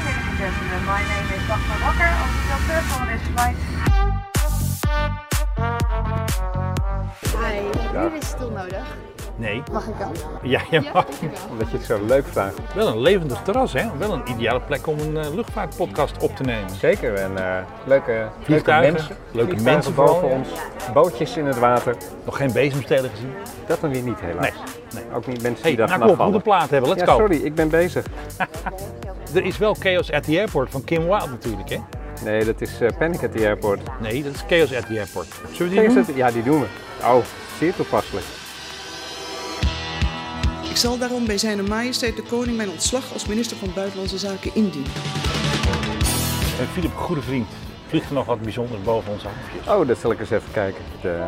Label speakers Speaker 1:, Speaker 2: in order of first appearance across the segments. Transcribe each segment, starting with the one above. Speaker 1: gentlemen, my name is Dagmar Wakker. I'm the doctor for this flight.
Speaker 2: Hi, hier is stil nodig.
Speaker 3: Nee.
Speaker 2: Mag ik dat?
Speaker 3: Ja, je
Speaker 2: Ja,
Speaker 3: mag.
Speaker 2: ik wel.
Speaker 4: Omdat je het zo leuk vraagt.
Speaker 3: Wel een levendig terras, hè? Wel een ideale plek om een eh, luchtvaartpodcast op te nemen.
Speaker 4: Zeker. En eh, leuke, leuke
Speaker 3: Vliegtuigen.
Speaker 4: mensen.
Speaker 3: Leuke
Speaker 4: Vliegtuigen
Speaker 3: mensen
Speaker 4: boven
Speaker 3: vooral, ja.
Speaker 4: ons. Bootjes in het water.
Speaker 3: Nog geen bezemstelen gezien?
Speaker 4: Dat dan weer niet helaas.
Speaker 3: Nee. nee.
Speaker 4: Ook niet mensen
Speaker 3: Hey,
Speaker 4: die daar
Speaker 3: nou
Speaker 4: vanaf
Speaker 3: kom op, we
Speaker 4: vallen.
Speaker 3: moeten plaat hebben. Let's
Speaker 4: ja,
Speaker 3: go.
Speaker 4: sorry, ik ben bezig.
Speaker 3: Er is wel Chaos at the Airport van Kim Wilde natuurlijk, hè?
Speaker 4: Nee, dat is eh, Panic at the Airport.
Speaker 3: Nee, dat is Chaos at the Airport. Zullen we die
Speaker 4: Is
Speaker 3: doen?
Speaker 4: het- Ja, die doen we. Oh, zeer toepasselijk.
Speaker 5: Ik zal daarom bij zijn majesteit de koning mijn ontslag als minister van Buitenlandse Zaken indienen.
Speaker 3: Eh, Philip, een goede vriend, vliegt er nog wat bijzonders boven ons hoofdjes.
Speaker 4: Oh, dat zal ik eens even kijken. De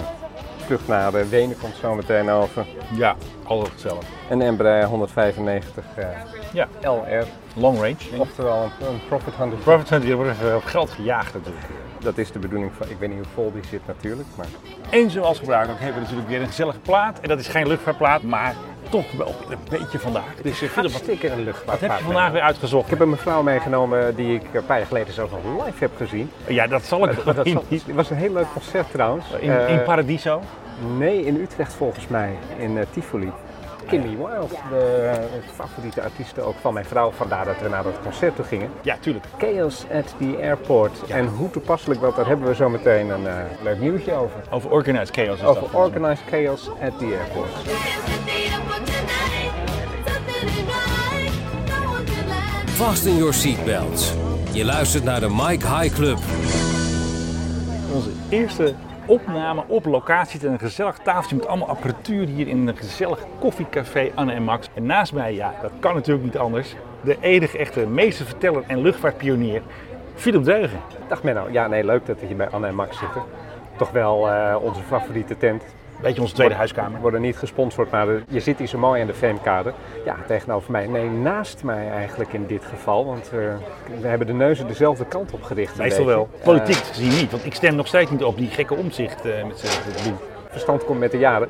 Speaker 4: vlucht naar eh, Wenen komt zo meteen over.
Speaker 3: Ja, altijd hetzelfde.
Speaker 4: En Embraer 195 eh,
Speaker 3: Ja,
Speaker 4: LR.
Speaker 3: long range. Of
Speaker 4: Oftewel een, een Profit 100.
Speaker 3: Private Center, die worden even op geld gejaagd natuurlijk.
Speaker 4: Dat is de bedoeling van, ik weet niet hoe vol die zit natuurlijk, maar
Speaker 3: En zoals gebruikelijk hebben we natuurlijk weer een gezellige plaat. En dat is geen luchtvaartplaat, maar toch wel een beetje vandaag. Dus eh, Philip, wat,
Speaker 4: hartstikke een luchtvaart.
Speaker 3: wat heb je vandaag weer uitgezocht?
Speaker 4: Ik heb een mevrouw meegenomen die ik een paar jaar geleden zelf nog live heb gezien.
Speaker 3: Ja, dat zal ik
Speaker 4: Dat
Speaker 3: in,
Speaker 4: zal- het was een heel leuk concert trouwens.
Speaker 3: in,
Speaker 4: Eh,
Speaker 3: in Paradiso.
Speaker 4: nee, in Utrecht volgens mij, in eh, Tivoli.
Speaker 3: Ah,
Speaker 4: Kimmy Wilde, de eh, favoriete artiest ook van mijn vrouw, vandaar dat we naar dat concert toe gingen.
Speaker 3: Ja, tuurlijk.
Speaker 4: Chaos at the Airport. En hoe toepasselijk, want daar hebben we zo meteen een eh, leuk nieuwtje over.
Speaker 3: Over Organized Chaos is dat.
Speaker 4: Over Organized Chaos at the Airport.
Speaker 6: Vast in your seatbelts. Je luistert naar de Mike High Club.
Speaker 3: Onze eerste opname op locatie. Het is een gezellig tafeltje met allemaal apparatuur hier in een gezellig koffiecafé Anne en Max. En naast mij, ja, dat kan natuurlijk niet anders. De enige echte meesterverteller en luchtvaartpionier, Philip Deugen.
Speaker 4: Dag Menno. nou, Ja, nee, leuk dat we hier bij Anne en Max zitten. Toch wel eh, onze favoriete tent.
Speaker 3: Beetje onze tweede huiskamer.
Speaker 4: We worden niet gesponsord, maar eh, je zit hier zo mooi aan de Veemkade. Ja, tegenover mij. Nee, naast mij eigenlijk in dit geval. Want eh, we hebben de neuzen dezelfde kant op gericht. een
Speaker 3: Meestal wel.
Speaker 4: beetje.
Speaker 3: Politiek gezien niet, want ik stem nog steeds niet op die gekke omzicht eh, met zijn gebied.
Speaker 4: Eh, verstand komt met de jaren.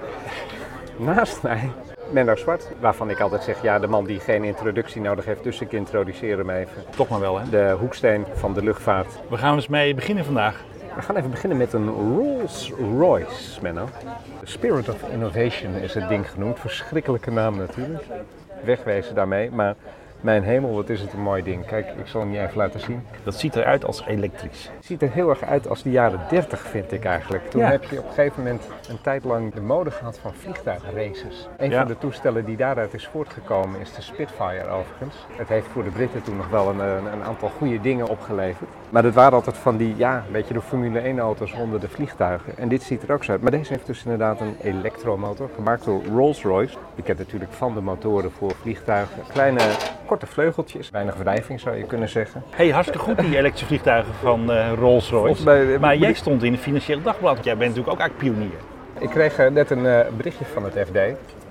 Speaker 4: Naast mij. Menno Zwart, waarvan ik altijd zeg, ja, de man die geen introductie nodig heeft, dus ik introduceer hem even.
Speaker 3: Toch maar wel, hè?
Speaker 4: De hoeksteen van de luchtvaart.
Speaker 3: We gaan eens mee beginnen vandaag.
Speaker 4: We gaan even beginnen met een Rolls Royce, Menno. The Spirit of Innovation is het ding genoemd. Verschrikkelijke naam natuurlijk. Wegwezen daarmee, maar mijn hemel, wat is het een mooi ding. Kijk, ik zal hem je even laten zien.
Speaker 3: Dat ziet eruit als elektrisch.
Speaker 4: Het ziet er heel erg uit als de jaren 30, vind ik eigenlijk. Toen
Speaker 3: Ja.
Speaker 4: heb je op een gegeven moment een tijd lang de mode gehad van vliegtuigraces. Een
Speaker 3: Ja.
Speaker 4: van de toestellen die daaruit is voortgekomen is de Spitfire overigens. Het heeft voor de Britten toen nog wel een, een, een aantal goede dingen opgeleverd. Maar dat waren altijd van die, ja, een beetje de Formule 1 auto's onder de vliegtuigen. En dit ziet er ook zo uit. Maar deze heeft dus inderdaad een elektromotor, gemaakt door Rolls-Royce. Je kent natuurlijk van de motoren voor vliegtuigen. Kleine, korte vleugeltjes. Weinig wrijving zou je kunnen zeggen.
Speaker 3: Hey, hartstikke goed die elektrische vliegtuigen van eh, Rolls-Royce.
Speaker 4: Volgens mij- eh,
Speaker 3: Maar jij stond in het Financieel Dagblad. want Jij bent natuurlijk ook eigenlijk pionier.
Speaker 4: Ik kreeg eh, net een eh, berichtje van het FD.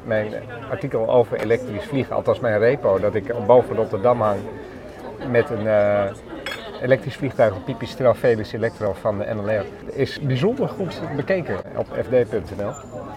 Speaker 4: Mijn eh, artikel over elektrisch vliegen, althans mijn repo, dat ik boven Rotterdam hang met een eh, elektrisch vliegtuig, een Pipistrel Velis Electro van de NLR. Is bijzonder goed bekeken op fd.nl.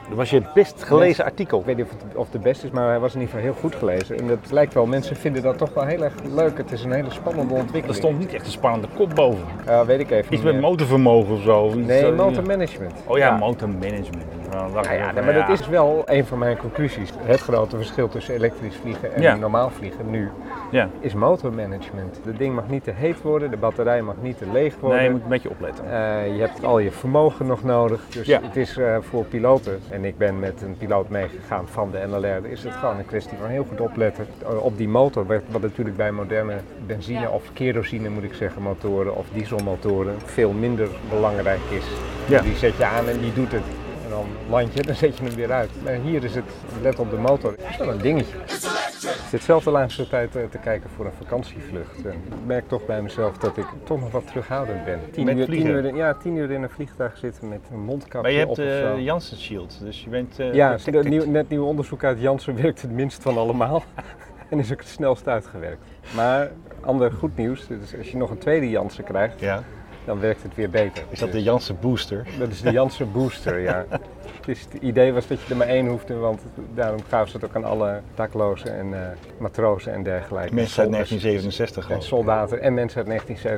Speaker 3: Dat was je best gelezen artikel.
Speaker 4: Ik weet niet of het, of het best is, maar hij was in ieder geval heel goed gelezen. En dat lijkt wel, mensen vinden dat toch wel heel erg leuk. Het is een hele spannende
Speaker 3: Er
Speaker 4: ontwikkeling.
Speaker 3: stond niet echt een spannende kop boven.
Speaker 4: Ja, weet ik even
Speaker 3: Iets
Speaker 4: niet
Speaker 3: met
Speaker 4: meer.
Speaker 3: motorvermogen of zo. Iets,
Speaker 4: Nee,
Speaker 3: eh,
Speaker 4: motormanagement.
Speaker 3: Oh ja, motormanagement. Nou, dacht
Speaker 4: Nou
Speaker 3: ik
Speaker 4: ja,
Speaker 3: even,
Speaker 4: maar
Speaker 3: ja.
Speaker 4: dat is wel een van mijn conclusies. Het grote verschil tussen elektrisch vliegen en
Speaker 3: Ja.
Speaker 4: normaal vliegen nu
Speaker 3: Ja.
Speaker 4: is motormanagement. Het ding mag niet te heet worden, de batterij mag niet te leeg worden.
Speaker 3: Nee, je moet een beetje opletten.
Speaker 4: Eh, je hebt al je vermogen nog nodig. Dus
Speaker 3: Ja.
Speaker 4: het is eh, voor piloten, en ik ben met een piloot meegegaan van de NLR, is het gewoon een kwestie van heel goed opletten eh, op die motor. Wat, wat natuurlijk bij moderne benzine
Speaker 2: Ja.
Speaker 4: of kerosine moet ik zeggen, motoren of dieselmotoren veel minder belangrijk is.
Speaker 3: Ja.
Speaker 4: Die zet je aan en die doet het. En dan land je, dan zet je hem weer uit. Maar hier is het, let op de motor, dat is wel een dingetje. Ik zit zelf de laatste tijd eh, te kijken voor een vakantievlucht. En ik merk toch bij mezelf dat ik toch nog wat terughoudend ben. Tien
Speaker 3: Met
Speaker 4: uur,
Speaker 3: vliegen?
Speaker 4: Tien uur in, ja, tien uur in een vliegtuig zitten met een mondkapje
Speaker 3: Maar je
Speaker 4: op
Speaker 3: hebt eh,
Speaker 4: of
Speaker 3: de
Speaker 4: zo.
Speaker 3: Janssen Shield, dus je bent... eh,
Speaker 4: ja,
Speaker 3: protected.
Speaker 4: dat nieuw, net nieuw onderzoek uit Janssen werkt het minst van allemaal. en is ook het snelst uitgewerkt. Maar ander goed nieuws, dus als je nog een tweede Janssen krijgt,
Speaker 3: Ja.
Speaker 4: dan werkt het weer beter.
Speaker 3: Is dat de
Speaker 4: Dus
Speaker 3: Janse booster?
Speaker 4: dat is de Janssen booster, ja. Dus Het, is, het idee was dat je er maar één hoefde, want daarom gaven ze het ook aan alle daklozen en eh, matrozen en dergelijke.
Speaker 3: Mensen uit
Speaker 4: Soldaten.
Speaker 3: 1967
Speaker 4: En
Speaker 3: gewoon.
Speaker 4: soldaten en mensen uit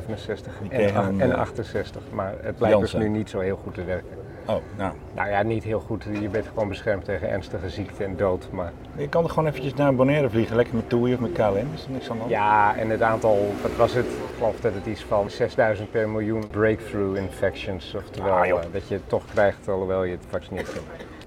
Speaker 4: 1967 en,
Speaker 3: kregen
Speaker 4: ach-
Speaker 3: een,
Speaker 4: en
Speaker 3: eh,
Speaker 4: 68. Maar het blijkt dus
Speaker 3: Janssen.
Speaker 4: nu niet zo heel goed te werken.
Speaker 3: Oh, nou.
Speaker 4: Nou ja, niet heel goed. Je bent gewoon beschermd tegen ernstige ziekte en dood. Maar
Speaker 3: Je kan er gewoon eventjes naar Bonaire vliegen. Lekker met TUI of met KLM. Is er niks aan de hand?
Speaker 4: ja, en het aantal, wat was het? Ik geloof dat het iets van 6000 per miljoen breakthrough infections. Oftewel
Speaker 3: Ah, joh.
Speaker 4: eh, dat je het toch krijgt, alhoewel je het vaccineert.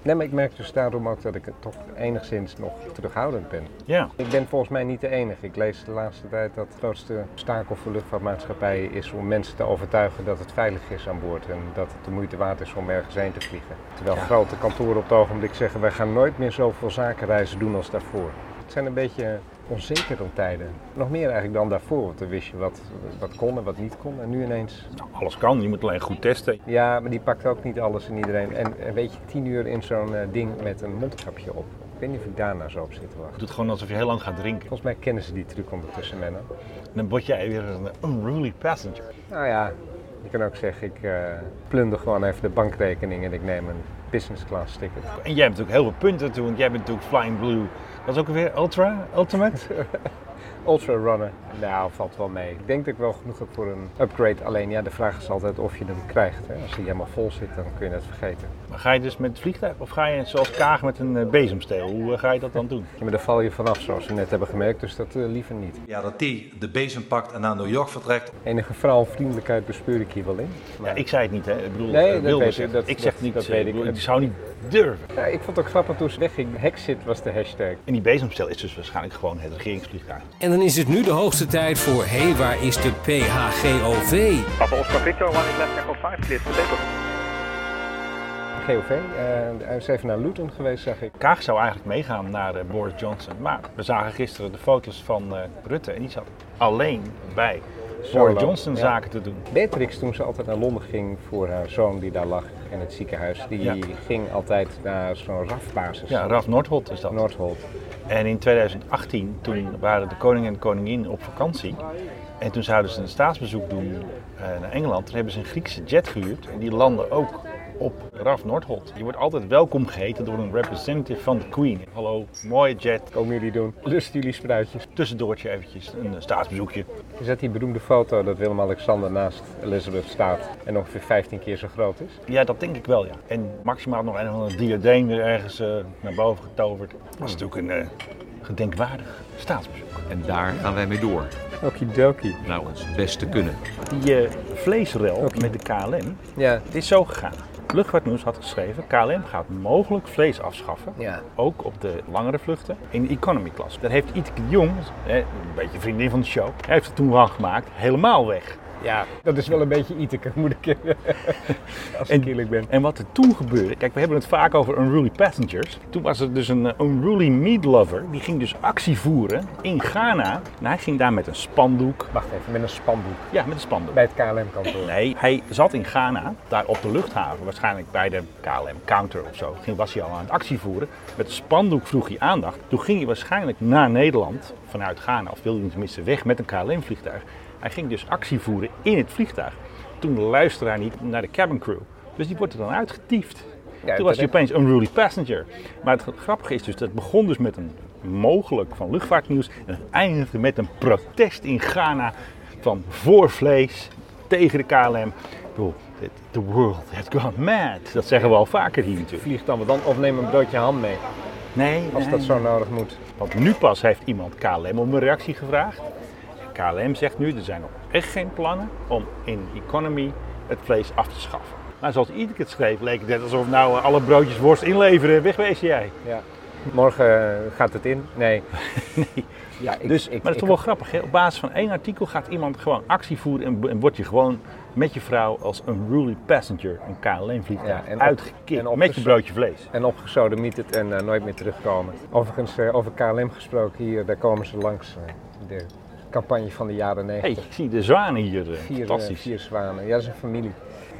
Speaker 4: Nee, maar ik merk dus daarom ook dat ik het toch enigszins nog terughoudend ben.
Speaker 3: Ja.
Speaker 4: Ik ben volgens mij niet de enige. Ik lees de laatste tijd dat het grootste obstakel voor luchtvaartmaatschappijen is om mensen te overtuigen dat het veilig is aan boord en dat het de moeite waard is om ergens heen te vliegen. Terwijl grote kantoren op het ogenblik zeggen wij gaan nooit meer zoveel zakenreizen doen als daarvoor. Het zijn een beetje onzekere tijden. Nog meer eigenlijk dan daarvoor, want dan wist je wat, wat kon en wat niet kon. En nu ineens,
Speaker 3: Nou, alles kan. Je moet alleen goed testen.
Speaker 4: ja, maar die pakt ook niet alles en iedereen. En eh, weet je, tien uur in zo'n eh, ding met een mondkapje op. Ik weet niet of ik daar nou zo op zit te wachten.
Speaker 3: Doe het gewoon alsof je heel lang gaat drinken.
Speaker 4: Volgens mij kennen ze die truc ondertussen, Menno.
Speaker 3: Dan word jij weer een unruly passenger.
Speaker 4: Nou ja, je kan ook zeggen, ik eh, plunder gewoon even de bankrekening en ik neem een business class ticket.
Speaker 3: En jij hebt natuurlijk heel veel punten toe, want jij bent natuurlijk Flying Blue. Dat is ook weer Ultra, Ultimate.
Speaker 4: Ultra runner, nou valt wel mee. Ik denk dat ik wel genoeg heb voor een upgrade. Alleen ja, de vraag is altijd of je hem krijgt. Hè. Als hij helemaal vol zit, dan kun je dat vergeten.
Speaker 3: Maar ga je dus met het vliegtuig of ga je zoals Kaag met een eh, bezemsteel? Hoe eh, ga je dat dan doen?
Speaker 4: Ja, maar daar val je vanaf, zoals we net hebben gemerkt, dus dat eh, liever niet.
Speaker 7: Ja, dat die de bezem pakt en naar New York vertrekt.
Speaker 4: Enige vrouwvriendelijkheid bespeur ik hier wel in. Maar-
Speaker 3: Ja, ik zei het niet, hè? Ik bedoel,
Speaker 4: Nee,
Speaker 3: eh,
Speaker 4: dat
Speaker 3: Wilders
Speaker 4: weet ik,
Speaker 3: zegt
Speaker 4: dat-
Speaker 3: het. ik
Speaker 4: dat-
Speaker 3: zeg het niet,
Speaker 4: dat
Speaker 3: eh,
Speaker 4: weet ik.
Speaker 3: bedoel, ik zou niet durven.
Speaker 4: Ja, ik vond het ook grappig toen ze wegging. Hexit was de hashtag.
Speaker 3: En die bezemsteel is dus waarschijnlijk gewoon het regeringsvliegtuig.
Speaker 6: En dan is het nu de hoogste tijd voor Hé, hey, waar is de PHGOV?
Speaker 8: Papa Oscar Victor, one is left echo 5, clear to decollete.
Speaker 4: GOV, eh, hij is even naar Luton geweest, zag ik.
Speaker 3: Kaag zou eigenlijk meegaan naar eh, Boris Johnson, maar we zagen gisteren de foto's van eh, Rutte en die zat alleen bij
Speaker 4: Solo,
Speaker 3: Boris Johnson
Speaker 4: ja.
Speaker 3: zaken te doen.
Speaker 4: Beatrix, toen ze altijd naar Londen ging voor haar zoon die daar lag in het ziekenhuis, die
Speaker 3: Ja.
Speaker 4: ging altijd naar zo'n rafbasis.
Speaker 3: Ja, Raf Noordholt is dat.
Speaker 4: Noordholt.
Speaker 3: En in 2018, toen waren de koning en de koningin op vakantie. En toen zouden ze een staatsbezoek doen eh, naar Engeland. Toen hebben ze een Griekse jet gehuurd. En die landde ook op RAF Noordholt. Je wordt altijd welkom geheten door een representative van de Queen. Hallo, mooie jet.
Speaker 4: Komen jullie doen? Lust jullie spruitjes?
Speaker 3: Tussendoortje eventjes, een eh, staatsbezoekje.
Speaker 4: Is dat die beroemde foto dat Willem-Alexander naast Elizabeth staat en ongeveer 15 keer zo groot is?
Speaker 3: Ja, dat denk ik wel, ja. En maximaal nog een of ander diadeem weer ergens eh, naar boven getoverd. Dat is natuurlijk een eh, gedenkwaardig staatsbezoek.
Speaker 9: En daar gaan wij mee door.
Speaker 4: Okidoki.
Speaker 9: Naar ons best te kunnen.
Speaker 3: Die eh, vleesrel met de KLM,
Speaker 4: Ja.
Speaker 3: Het is zo gegaan. Luchtvaartnieuws had geschreven, KLM gaat mogelijk vlees afschaffen,
Speaker 4: Ja.
Speaker 3: ook op de langere vluchten, in de economy class. Daar heeft Iteke de Jong, hè, een beetje vriendin van de show, hij heeft het toen van gemaakt, helemaal weg.
Speaker 4: Ja, dat is wel een beetje Iteke, moet ik zeggen. Als ik eerlijk ben.
Speaker 3: En wat er toen gebeurde, kijk we hebben het vaak over unruly passengers. Toen was er dus een eh, unruly meat lover, die ging dus actie voeren in Ghana. En hij ging daar met een spandoek,
Speaker 4: Wacht even, met een spandoek
Speaker 3: ja met een spandoek.
Speaker 4: bij het KLM-kantoor.
Speaker 3: Nee, hij zat in Ghana, daar op de luchthaven, waarschijnlijk bij de KLM-counter of zo. Ging, was hij al aan het actie voeren. Met een spandoek vroeg hij aandacht. Toen ging hij waarschijnlijk naar Nederland vanuit Ghana, of wilde hij tenminste weg met een KLM-vliegtuig. Hij ging dus actie voeren in het vliegtuig. Toen luisterde hij niet naar de cabin crew. Dus die wordt er dan uitgetiefd.
Speaker 4: Ja,
Speaker 3: Toen was hij
Speaker 4: terecht.
Speaker 3: opeens unruly passenger. Maar het grappige is dus, dat begon dus met een mogelijk van luchtvaartnieuws. En het eindigde met een protest in Ghana van voor vlees tegen de KLM. Ik bedoel, it- the world has gone mad. Dat zeggen we al vaker hier natuurlijk.
Speaker 4: Vlieg dan, wel dan of neem een broodje ham mee,
Speaker 3: Nee,
Speaker 4: als dat zo nodig moet.
Speaker 3: Want nu pas heeft iemand KLM om een reactie gevraagd. KLM zegt nu, er zijn nog echt geen plannen om in economy het vlees af te schaffen. Maar zoals iedere het schreef, leek het net alsof nou eh, alle broodjes worst inleveren, wegwezen jij.
Speaker 4: Ja. Morgen eh, gaat het in? Nee. Ja, ik,
Speaker 3: dus,
Speaker 4: ik-
Speaker 3: maar dat is
Speaker 4: ik-
Speaker 3: toch wel grappig. Hè? Op basis van één artikel gaat iemand gewoon actie voeren en, en wordt je gewoon met je vrouw als een ruly passenger, een
Speaker 4: Ja,
Speaker 3: KLM-vliegtuig,
Speaker 4: en op- en
Speaker 3: uitgekikt
Speaker 4: op
Speaker 3: met
Speaker 4: de
Speaker 3: je
Speaker 4: s-
Speaker 3: broodje vlees.
Speaker 4: En opgesodemieterd en eh, nooit meer terugkomen. Overigens, eh, over KLM gesproken, hier, daar komen ze langs. eh, de campagne van de jaren
Speaker 3: Hé, hey,
Speaker 4: 90.
Speaker 3: ik zie de zwanen hier. eh,
Speaker 4: vier, eh,
Speaker 3: Fantastisch.
Speaker 4: vier zwanen. Ja, dat is een familie.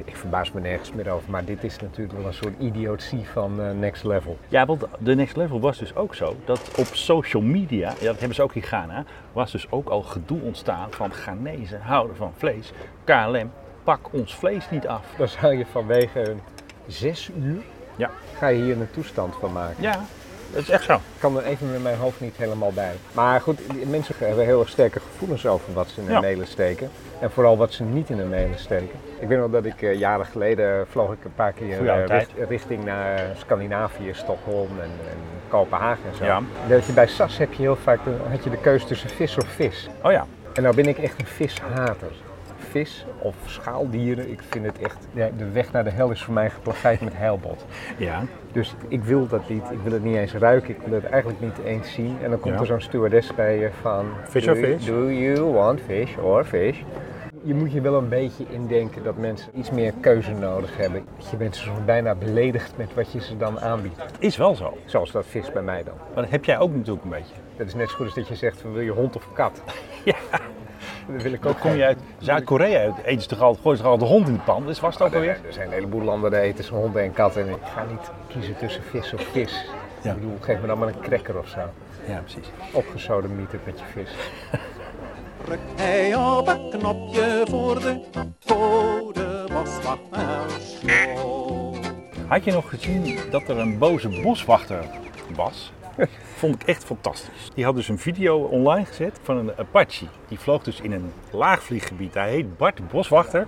Speaker 4: Ik verbaas me nergens meer over, maar dit is natuurlijk wel een soort idiotie van eh, next level.
Speaker 3: Ja, want de Next Level was dus ook zo dat op social media, ja, dat hebben ze ook in Ghana, was dus ook al gedoe ontstaan van Ghanese houden van vlees, KLM pak ons vlees niet af.
Speaker 4: Dan zou je vanwege zes uur
Speaker 3: Ja.
Speaker 4: ga je hier een toestand van maken.
Speaker 3: Ja, dat is echt zo.
Speaker 4: Ik kan er even met mijn hoofd niet helemaal bij. Maar goed, die mensen hebben heel erg sterke gevoelens over wat ze in hun
Speaker 3: Ja.
Speaker 4: mailen steken. En vooral wat ze niet in hun mailen steken. Ik weet nog dat ik eh, jaren geleden vloog ik een paar keer
Speaker 3: Goeie oude
Speaker 4: eh,
Speaker 3: tijd.
Speaker 4: richt- richting naar Scandinavië, Stockholm en, en Kopenhagen en zo.
Speaker 3: Ja.
Speaker 4: Dat je bij SAS heb je heel vaak de, had je de keuze tussen vis of vis.
Speaker 3: Oh ja,
Speaker 4: En nou ben ik echt een vishater. Vis of schaaldieren, ik vind het echt. ja, de weg naar de hel is voor mij geplaveid met heilbot.
Speaker 3: ja.
Speaker 4: Dus ik wil dat niet, ik wil het niet eens ruiken, ik wil het eigenlijk niet eens zien. En dan komt
Speaker 3: Ja.
Speaker 4: er zo'n stewardess bij je van...
Speaker 3: Fish
Speaker 4: do,
Speaker 3: or fish?
Speaker 4: Do you want fish or fish? Je moet je wel een beetje indenken dat mensen iets meer keuze nodig hebben. Je bent soms bijna beledigd met wat je ze dan aanbiedt.
Speaker 3: Het is wel zo.
Speaker 4: Zoals dat vis bij mij dan.
Speaker 3: Maar dat heb jij ook natuurlijk een beetje.
Speaker 4: Dat is net zo goed als dat je zegt, wil je hond of kat?
Speaker 3: Ja.
Speaker 4: Dat wil ik ook
Speaker 3: Dan kom je
Speaker 4: geen.
Speaker 3: uit Zuid-Korea, eten ze toch altijd, gooien ze toch altijd de hond in de pan. Dus was het ook
Speaker 4: Er
Speaker 3: alweer?
Speaker 4: er zijn een heleboel landen, daar eten ze honden en katten. En ik ga niet kiezen tussen vis of vis.
Speaker 3: Ja.
Speaker 4: Ik bedoel, geef me dan maar een cracker of zo.
Speaker 3: Ja, precies.
Speaker 4: Opgesodemieterd met je vis.
Speaker 10: Hij op een knopje voor de code boswachters.
Speaker 3: Had je nog gezien dat er een boze boswachter was? Vond ik echt fantastisch. Die had dus een video online gezet van een Apache. Die vloog dus in een laagvlieggebied. Hij heet Bart Boswachter.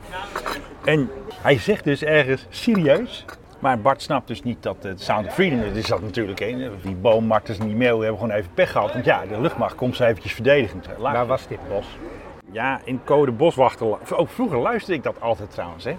Speaker 3: En hij zegt dus ergens serieus. Maar Bart snapt dus niet dat het Sound of Freedom er is. dat natuurlijk een. Die dus boommarters en die meeuwen hebben gewoon even pech gehad. Want ja, de luchtmacht komt ze eventjes verdedigen. Laag-
Speaker 4: Waar was dit bos?
Speaker 3: ja, in code boswachter. Ook vroeger luisterde ik dat altijd trouwens. Hè?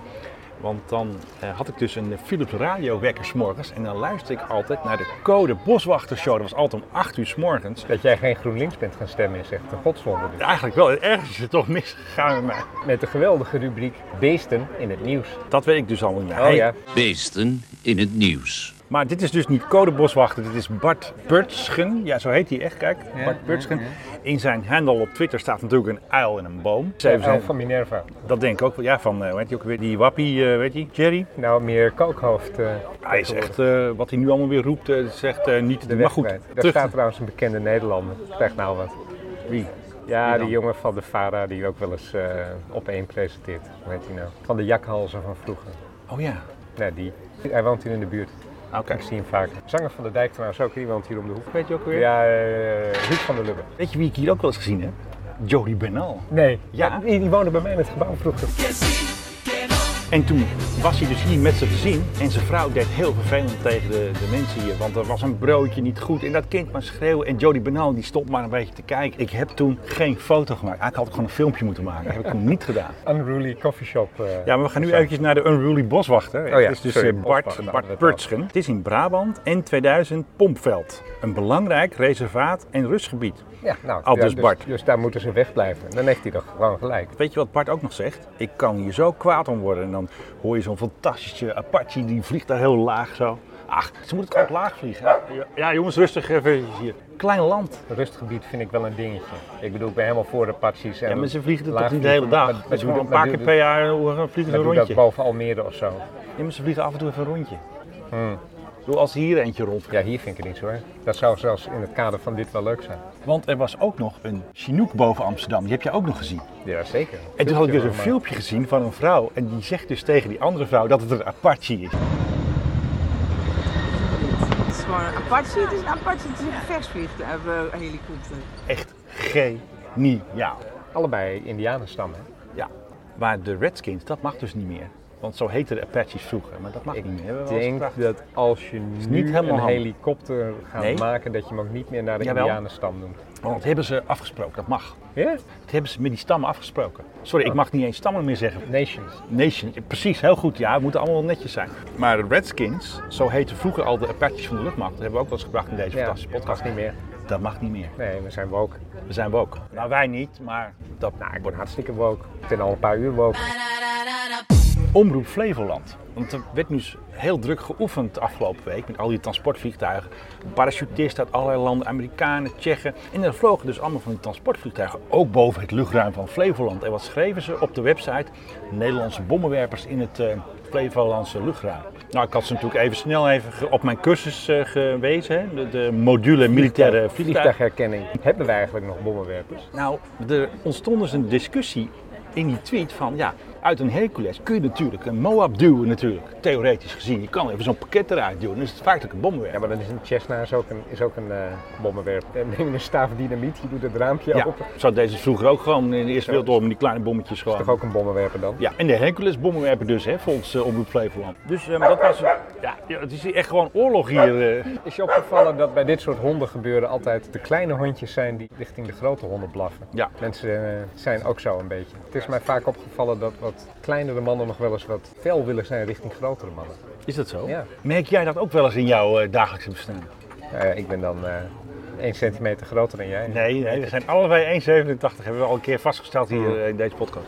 Speaker 3: Want dan eh, had ik dus een Philips radiowekker 's morgens. En dan luisterde ik altijd naar de code boswachter show. Dat was altijd om 8 uur 's morgens.
Speaker 4: Dat jij geen GroenLinks bent gaan stemmen is echt een godswonder. dus.
Speaker 3: Eigenlijk wel, ergens is het toch misgegaan met mij.
Speaker 4: Met de geweldige rubriek Beesten in het nieuws.
Speaker 3: Dat weet ik dus al niet meer.
Speaker 4: Oh ja,
Speaker 9: Beesten in het nieuws.
Speaker 3: Maar dit is dus niet Code Boswachter, dit is Bart Burtschen. Ja, zo heet hij echt, kijk. Bart Burtschen. In zijn handle op Twitter staat natuurlijk een uil in een boom. Ze
Speaker 4: de
Speaker 3: heeft
Speaker 4: uil
Speaker 3: zijn-
Speaker 4: van Minerva.
Speaker 3: Dat denk ik ook wel. Ja, van, eh, hoe heet hij ook weer? Die wappie, eh, weet je, Jerry.
Speaker 4: Nou, meer kookhoofd. eh,
Speaker 3: Hij is echt, eh, wat hij nu allemaal weer roept, eh, is echt eh, niet te
Speaker 4: de
Speaker 3: doen.
Speaker 4: weg
Speaker 3: Maar goed,
Speaker 4: kwijt. Daar
Speaker 3: terug.
Speaker 4: staat trouwens een bekende Nederlander. Krijgt nou wat.
Speaker 3: Wie?
Speaker 4: Ja,
Speaker 3: Wie dan?
Speaker 4: die jongen van de Fara die ook wel eens eh, op één presenteert. Hoe heet hij nou? Van de jakhalzen van vroeger.
Speaker 3: Oh ja.
Speaker 4: Nee, die. Hij woont hier in de buurt.
Speaker 3: Oké.
Speaker 4: Ik zie hem vaak. Zanger van de Dijk trouwens ook iemand hier om de hoek.
Speaker 3: Weet je ook weer?
Speaker 4: Ja, eh Ruud van der Lubbe.
Speaker 3: Weet je wie ik hier ook wel eens gezien heb? Jody Benal.
Speaker 4: Nee,
Speaker 3: Ja.
Speaker 4: die, die woonde bij mij in het gebouw vroeger.
Speaker 3: En toen was hij dus hier met zijn gezin en zijn vrouw deed heel vervelend tegen de, de mensen hier. Want er was een broodje niet goed en dat kind maar schreeuwen. En Jody Benal die stond maar een beetje te kijken. Ik heb toen geen foto gemaakt. Eigenlijk had ik gewoon een filmpje moeten maken. Dat heb ik toen niet gedaan.
Speaker 4: Unruly Coffeeshop. eh.
Speaker 3: Ja, maar we gaan nu eventjes naar de Unruly Boswachter.
Speaker 4: Oh ja,
Speaker 3: het is dus
Speaker 4: sorry,
Speaker 3: eh, Bart,
Speaker 4: Boswachter,
Speaker 3: Bart
Speaker 4: inderdaad.
Speaker 3: Purtschen. Het is in Brabant en 2000 Pompveld. Een belangrijk reservaat en rustgebied.
Speaker 4: Ja, nou,
Speaker 3: Al dus
Speaker 4: ja,
Speaker 3: Bart.
Speaker 4: Dus, daar moeten ze wegblijven. Dan heeft hij toch gewoon gelijk.
Speaker 3: Weet je wat Bart ook nog zegt? Ik kan hier zo kwaad om worden. En dan hoor je zo'n fantastische Apache, die vliegt daar heel laag zo. Ach, ze moet het ook laag vliegen. Ja, Ja, jongens, rustig even hier. Klein land.
Speaker 4: Rustgebied vind ik wel een dingetje. Ik bedoel, ik ben helemaal voor de Apaches. en
Speaker 3: Ja, maar ze vliegen er
Speaker 4: laag
Speaker 3: toch niet de hele
Speaker 4: vliegen.
Speaker 3: dag.
Speaker 4: Maar-
Speaker 3: Ze
Speaker 4: maar doe
Speaker 3: doen gewoon
Speaker 4: dat-
Speaker 3: een paar
Speaker 4: maar
Speaker 3: keer
Speaker 4: doe-
Speaker 3: per jaar eh, vliegen ze
Speaker 4: maar
Speaker 3: een
Speaker 4: doe dat
Speaker 3: rondje.
Speaker 4: boven Almere of zo.
Speaker 3: Ja, maar ze vliegen af en toe even een rondje. Hmm. Doe als hier eentje rond.
Speaker 4: Ja, hier vind ik het niet zo erg. Dat zou zelfs in het kader van dit wel leuk zijn.
Speaker 3: Want er was ook nog een Chinook boven Amsterdam. Die heb je ook nog gezien.
Speaker 4: Ja, zeker.
Speaker 3: En toen had ik dus een
Speaker 4: Maar-
Speaker 3: filmpje gezien van een vrouw. En die zegt dus tegen die andere vrouw dat het een Apache is.
Speaker 10: Het is gewoon een Apache, het is een Apache, het is een gevechtsvliegtuig, eh, helikopter.
Speaker 3: Echt geniaal.
Speaker 4: Allebei Indianenstammen.
Speaker 3: Ja, maar de Redskins, dat mag dus niet meer. Want zo heten de Apaches vroeger, maar dat mag niet meer.
Speaker 4: Ik
Speaker 3: Dat was
Speaker 4: denk
Speaker 3: prachtig.
Speaker 4: dat als je nu
Speaker 3: niet helemaal
Speaker 4: een
Speaker 3: handig.
Speaker 4: helikopter gaat
Speaker 3: Nee.
Speaker 4: maken, dat je hem ook niet meer naar de
Speaker 3: Jawel.
Speaker 4: Indianenstam noemt.
Speaker 3: Want dat hebben ze afgesproken, dat mag.
Speaker 4: Ja?
Speaker 3: Dat hebben ze met die stammen afgesproken. Sorry, ik mag niet eens stammen meer zeggen.
Speaker 4: Oh. Nations.
Speaker 3: Nation, precies, heel goed. Ja, we moeten allemaal wel netjes zijn. Maar de Redskins, zo heten vroeger al de Apaches van de luchtmacht. Dat hebben we ook wel eens gebracht in deze
Speaker 4: Ja,
Speaker 3: fantastische
Speaker 4: dat
Speaker 3: podcast.
Speaker 4: mag niet meer.
Speaker 3: Dat mag niet meer.
Speaker 4: Nee, we zijn woke.
Speaker 3: We zijn we ook. Nou, wij niet, maar dat...
Speaker 4: Nou, ik word hartstikke woke. Ik ben al een paar uur woke.
Speaker 3: Omroep Flevoland. Want er werd nu heel druk geoefend de afgelopen week met al die transportvliegtuigen. Parachutisten uit allerlei landen, Amerikanen, Tsjechen. En er vlogen dus allemaal van die transportvliegtuigen ook boven het luchtruim van Flevoland. En wat schreven ze op de website? Nederlandse bommenwerpers in het eh, Flevolandse luchtruim. Nou, ik had ze natuurlijk even snel even ge- op mijn cursus eh, gewezen. Hè? De, de module militaire vliegtuigen.
Speaker 4: Vliegtuigherkenning. Hebben wij eigenlijk nog bommenwerpers?
Speaker 3: Nou, er ontstond dus een discussie in die tweet van ja, Uit een Hercules kun je natuurlijk een Moab duwen natuurlijk. Theoretisch gezien, je kan even zo'n pakket eruit duwen. Dan is het feitelijk een bommenwerk.
Speaker 4: Ja, maar dan is een Cessna is ook een, is ook een eh bommenwerp. En neem je een staaf dynamiet, je doet het raampje
Speaker 3: Ja,
Speaker 4: open.
Speaker 3: zo deed ze het vroeger ook gewoon in de Eerste Wereldoorlog met die kleine bommetjes gewoon.
Speaker 4: Toch ook een bommenwerper dan?
Speaker 3: Ja, en de Hercules bommenwerpen dus, hè, volgens uh, Omroep Flevoland. Dus eh, maar dat was... Ja, ja, het is hier echt gewoon oorlog hier. eh.
Speaker 4: Is je opgevallen dat bij dit soort honden gebeuren altijd de kleine hondjes zijn die richting de grote honden blaffen?
Speaker 3: Ja.
Speaker 4: Mensen eh, zijn ook zo een beetje. Het is mij vaak opgevallen dat wat kleinere mannen nog wel eens wat fel willen zijn richting grotere mannen.
Speaker 3: Is dat zo?
Speaker 4: Ja.
Speaker 3: Merk jij dat ook wel eens in jouw eh, dagelijkse bestaan?
Speaker 4: Nou ja, ik ben dan eh 1 centimeter groter dan jij.
Speaker 3: Nee, nee, we zijn allebei 1,87 hebben we al een keer vastgesteld hier eh, in deze podcast.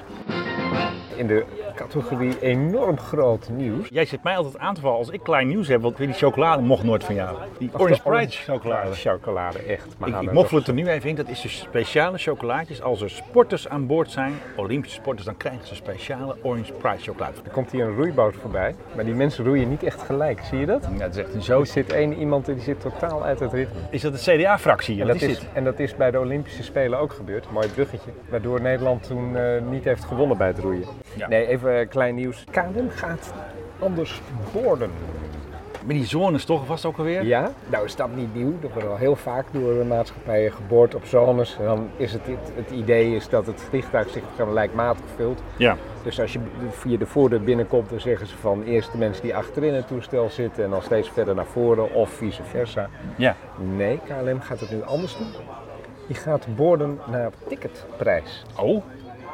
Speaker 4: In de categorie enorm groot nieuws.
Speaker 3: Jij zit mij altijd aan te vallen als ik klein nieuws heb, want weer die chocolade mocht nooit van jou. Die Orange Pride chocolade.
Speaker 4: Chocolade, echt. Maar nou,
Speaker 3: Ik, ik
Speaker 4: dat-
Speaker 3: moffel het er nu even in, dat is dus speciale chocolaatjes. Als er sporters aan boord zijn, Olympische sporters, dan krijgen ze speciale Orange Pride chocolade.
Speaker 4: Er komt hier een roeiboot voorbij, maar die mensen roeien niet echt gelijk. Zie je dat?
Speaker 3: Ja, dat is echt een
Speaker 4: Zo
Speaker 3: zootje.
Speaker 4: zit één iemand en die zit totaal uit het ritme.
Speaker 3: Is dat de CDA-fractie?
Speaker 4: En
Speaker 3: Wat
Speaker 4: dat,
Speaker 3: is,
Speaker 4: is,
Speaker 3: dit?
Speaker 4: en dat is bij de Olympische Spelen ook gebeurd. Mooi bruggetje. Waardoor Nederland toen eh, niet heeft gewonnen bij het roeien.
Speaker 3: Ja.
Speaker 4: Nee, even eh, klein nieuws. KLM gaat anders boorden.
Speaker 3: Met die zones toch, was het ook alweer?
Speaker 4: Ja? Nou is dat niet nieuw. Dat wordt al heel vaak door de maatschappijen geboord op zones. En dan is het, het, het idee is dat het vliegtuig zich gelijkmatig vult.
Speaker 3: Ja.
Speaker 4: Dus als je via de voordeur binnenkomt, dan zeggen ze van eerst de mensen die achterin het toestel zitten en dan steeds verder naar voren of vice versa.
Speaker 3: Ja.
Speaker 4: Nee, KLM gaat het nu anders doen. Die gaat borden naar ticketprijs.
Speaker 3: Oh,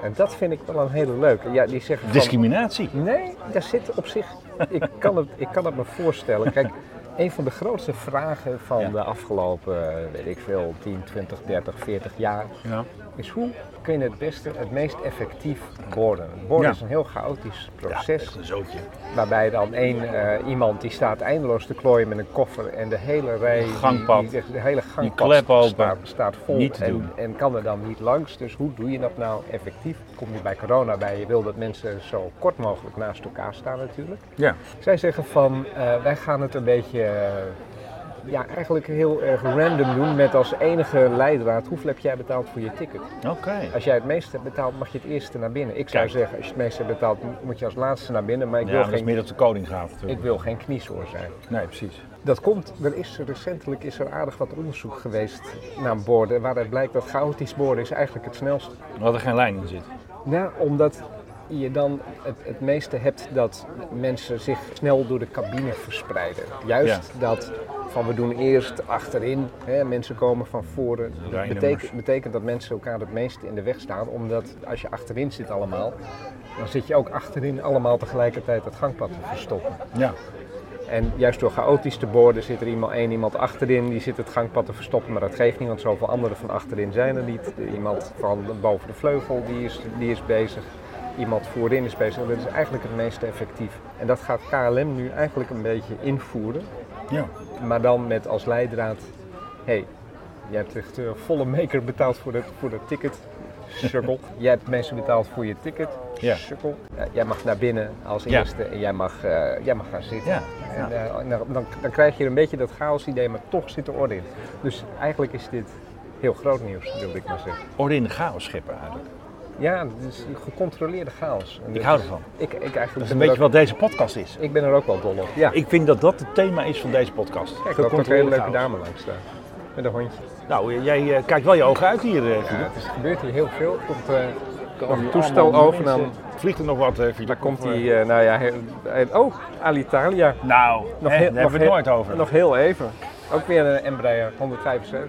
Speaker 4: En dat vind ik wel een hele leuke. Ja, die zeggen van-
Speaker 3: discriminatie.
Speaker 4: Nee, daar zit op zich. Ik kan het, ik kan het me voorstellen. Kijk, een van de grootste vragen van
Speaker 3: Ja.
Speaker 4: de afgelopen, eh, weet ik veel, 10, 20, 30, 40 jaar.
Speaker 3: Ja.
Speaker 4: Is hoe kun je het beste, het meest effectief worden? Borden
Speaker 3: Ja.
Speaker 4: is een heel chaotisch proces.
Speaker 3: Echt een zootje.
Speaker 4: Waarbij dan één eh, iemand die staat eindeloos te klooien met een koffer en de hele rij, die-
Speaker 3: Gangpad.
Speaker 4: die- de hele gangpad
Speaker 3: klep open.
Speaker 4: Staat, staat vol
Speaker 3: Niet te
Speaker 4: en,
Speaker 3: doen.
Speaker 4: en kan er dan niet langs. Dus hoe doe je dat nou effectief? Kom je bij corona bij, je wil dat mensen zo kort mogelijk naast elkaar staan natuurlijk.
Speaker 3: Ja.
Speaker 4: Zij zeggen van, eh, wij gaan het een beetje, eh, ja eigenlijk heel erg random doen met als enige leidraad hoeveel heb jij betaald voor je ticket?
Speaker 3: Oké.
Speaker 4: Als jij het meeste hebt betaald, mag je het eerste naar binnen. Ik zou
Speaker 3: Kijk.
Speaker 4: zeggen, als je het meeste hebt betaald, moet je als laatste naar binnen. Maar ik
Speaker 3: Ja,
Speaker 4: wil
Speaker 3: dat is
Speaker 4: geen
Speaker 3: meer dat de koning gaat natuurlijk.
Speaker 4: ik wil geen kniesoor zijn.
Speaker 3: Nee, precies.
Speaker 4: Dat komt, er is recentelijk is er aardig wat onderzoek geweest naar borden. Waaruit blijkt dat chaotisch borden is eigenlijk het snelste.
Speaker 3: Omdat er geen lijn in zit.
Speaker 4: Nou, omdat je dan het, het meeste hebt dat mensen zich snel door de cabine verspreiden. Juist dat van we doen eerst achterin, hè, mensen komen van voren. Dat
Speaker 3: Rijnummers.
Speaker 4: betekent, betekent dat mensen elkaar het meest in de weg staan, omdat als je achterin zit allemaal, dan zit je ook achterin allemaal tegelijkertijd het gangpad te verstoppen.
Speaker 3: Ja.
Speaker 4: En juist door chaotisch te borden zit er iemand, één iemand achterin, die zit het gangpad te verstoppen, maar dat geeft niet, want zoveel anderen van achterin zijn er niet. Iemand van boven de vleugel die is, die is bezig, iemand voorin is bezig. En Dat is eigenlijk het meest effectief. En dat gaat KLM nu eigenlijk een beetje invoeren,
Speaker 3: Ja.
Speaker 4: maar dan met als leidraad, hey, je hebt echt eh, volle maker betaald voor dat, voor dat ticket. Sukkel. Jij hebt mensen betaald voor je ticket.
Speaker 3: Ja.
Speaker 4: Sukkel. Ja, jij mag naar binnen als
Speaker 3: Ja.
Speaker 4: eerste en jij mag, eh, jij mag gaan zitten.
Speaker 3: Ja.
Speaker 4: En, eh, en dan, dan, dan krijg je een beetje dat chaos idee, maar toch zit er orde in. Dus eigenlijk is dit heel groot nieuws, wilde ik maar zeggen.
Speaker 3: Orde in de chaos scheppen eigenlijk.
Speaker 4: Ja, het is gecontroleerde chaos. En
Speaker 3: Ik
Speaker 4: dat
Speaker 3: hou
Speaker 4: is-
Speaker 3: ervan.
Speaker 4: Ik, ik eigenlijk ben
Speaker 3: Dat is een
Speaker 4: er
Speaker 3: beetje
Speaker 4: ook-
Speaker 3: wat deze podcast is.
Speaker 4: Ik ben er ook wel dol op. Ja,
Speaker 3: Ik vind dat dat het thema is van deze podcast.
Speaker 4: kijk, er ook een hele
Speaker 3: Gecontroleerde
Speaker 4: leuke
Speaker 3: chaos.
Speaker 4: dame langs staan. Met een hondje.
Speaker 3: Nou, eh, jij eh, kijkt wel je ogen uit hier. eh,
Speaker 4: Ja,
Speaker 3: Philip.
Speaker 4: het is, gebeurt hier heel veel. Er komt eh, nog een
Speaker 3: Hier
Speaker 4: toestel
Speaker 3: allemaal
Speaker 4: over en dan,
Speaker 3: mensen. Vliegt er nog wat, eh, Philip?
Speaker 4: dan komt
Speaker 3: Of, eh,
Speaker 4: die, eh, nou ja, heel- heel- oh, Alitalia.
Speaker 3: Nou, hè, daar
Speaker 4: heel-
Speaker 3: hebben we het
Speaker 4: heel-
Speaker 3: nooit over.
Speaker 4: Nog heel even. Ook weer een Embraer 175.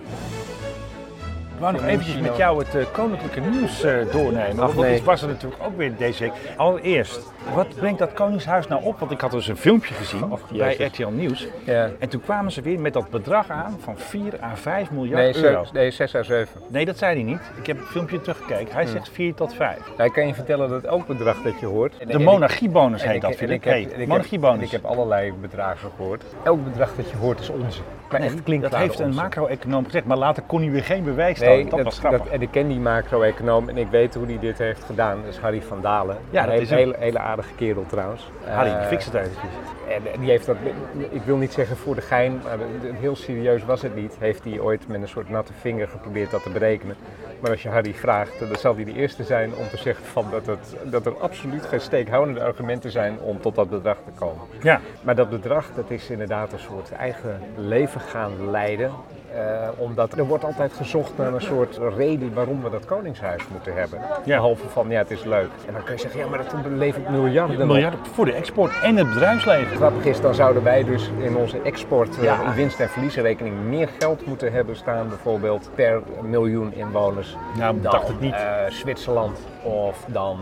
Speaker 3: Ik wou nog eventjes met jou het eh, koninklijke nieuws eh, doornemen.
Speaker 4: Ach,
Speaker 3: want dat
Speaker 4: nee.
Speaker 3: is- was er natuurlijk ook weer deze week. Allereerst, wat brengt dat Koningshuis nou op? Want ik had dus een filmpje gezien bij
Speaker 4: jezus.
Speaker 3: RTL Nieuws.
Speaker 4: Ja.
Speaker 3: En toen kwamen ze weer met dat bedrag aan van 4 à 5 miljard
Speaker 4: Nee,
Speaker 3: euro.
Speaker 4: 6, nee, 6 à 7.
Speaker 3: Nee, dat zei hij niet. Ik heb het filmpje teruggekeken.
Speaker 4: Hm.
Speaker 3: Hij zegt 4 tot 5.
Speaker 4: Nou, ik kan je vertellen dat elk bedrag dat je hoort.
Speaker 3: De monarchiebonus heet dat,
Speaker 4: vind
Speaker 3: Philip. Hey, monarchiebonus.
Speaker 4: Ik heb allerlei bedragen gehoord. Elk bedrag dat je hoort is onzin. Maar echt klinkt
Speaker 3: dat
Speaker 4: ware
Speaker 3: heeft een
Speaker 4: onzin.
Speaker 3: macro-econoom gezegd, maar later kon hij weer geen bewijs tonen.
Speaker 4: Nee,
Speaker 3: dat,
Speaker 4: dat,
Speaker 3: was
Speaker 4: dat,
Speaker 3: grappig.
Speaker 4: en ik ken die macro-econoom en ik weet hoe hij dit heeft gedaan. Dat is Harry van Dalen.
Speaker 3: Ja,
Speaker 4: een
Speaker 3: dat
Speaker 4: hele-
Speaker 3: is hem.
Speaker 4: hele, hele aardige kerel trouwens.
Speaker 3: Harry,
Speaker 4: Eh,
Speaker 3: fix het eventjes.
Speaker 4: En en die heeft dat, ik wil niet zeggen voor de gein, maar heel serieus was het niet. Heeft hij ooit met een soort natte vinger geprobeerd dat te berekenen. Maar als je Harry vraagt, eh, dan zal hij de eerste zijn om te zeggen van dat, het, dat er absoluut geen steekhoudende argumenten zijn om tot dat bedrag te komen.
Speaker 3: Ja,
Speaker 4: Maar dat bedrag, dat is inderdaad een soort eigen leven gaan leiden. Eh, omdat er wordt altijd gezocht naar een soort reden waarom we dat koningshuis moeten hebben.
Speaker 3: Ja.
Speaker 4: Behalve van, ja, het is leuk. En dan kun je zeggen, ja, maar dat levert miljarden op.
Speaker 3: miljarden voor de export en het bedrijfsleven.
Speaker 4: Grappig is, dan zouden wij dus in onze export eh,
Speaker 3: Ja.
Speaker 4: winst- en verliesrekening meer geld moeten hebben staan, bijvoorbeeld per miljoen inwoners.
Speaker 3: Nou,
Speaker 4: dan
Speaker 3: dacht ik niet.
Speaker 4: eh, Zwitserland of dan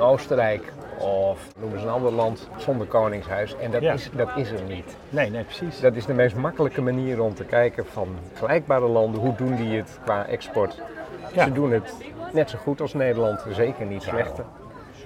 Speaker 4: Oostenrijk of noem eens een ander land zonder koningshuis. En dat,
Speaker 3: Ja.
Speaker 4: is, dat is er niet.
Speaker 3: Nee, nee, precies.
Speaker 4: Dat is de meest makkelijke manier om te kijken van gelijkbare landen, hoe doen die het qua export.
Speaker 3: Ja.
Speaker 4: Ze doen het net zo goed als Nederland, zeker niet slechter.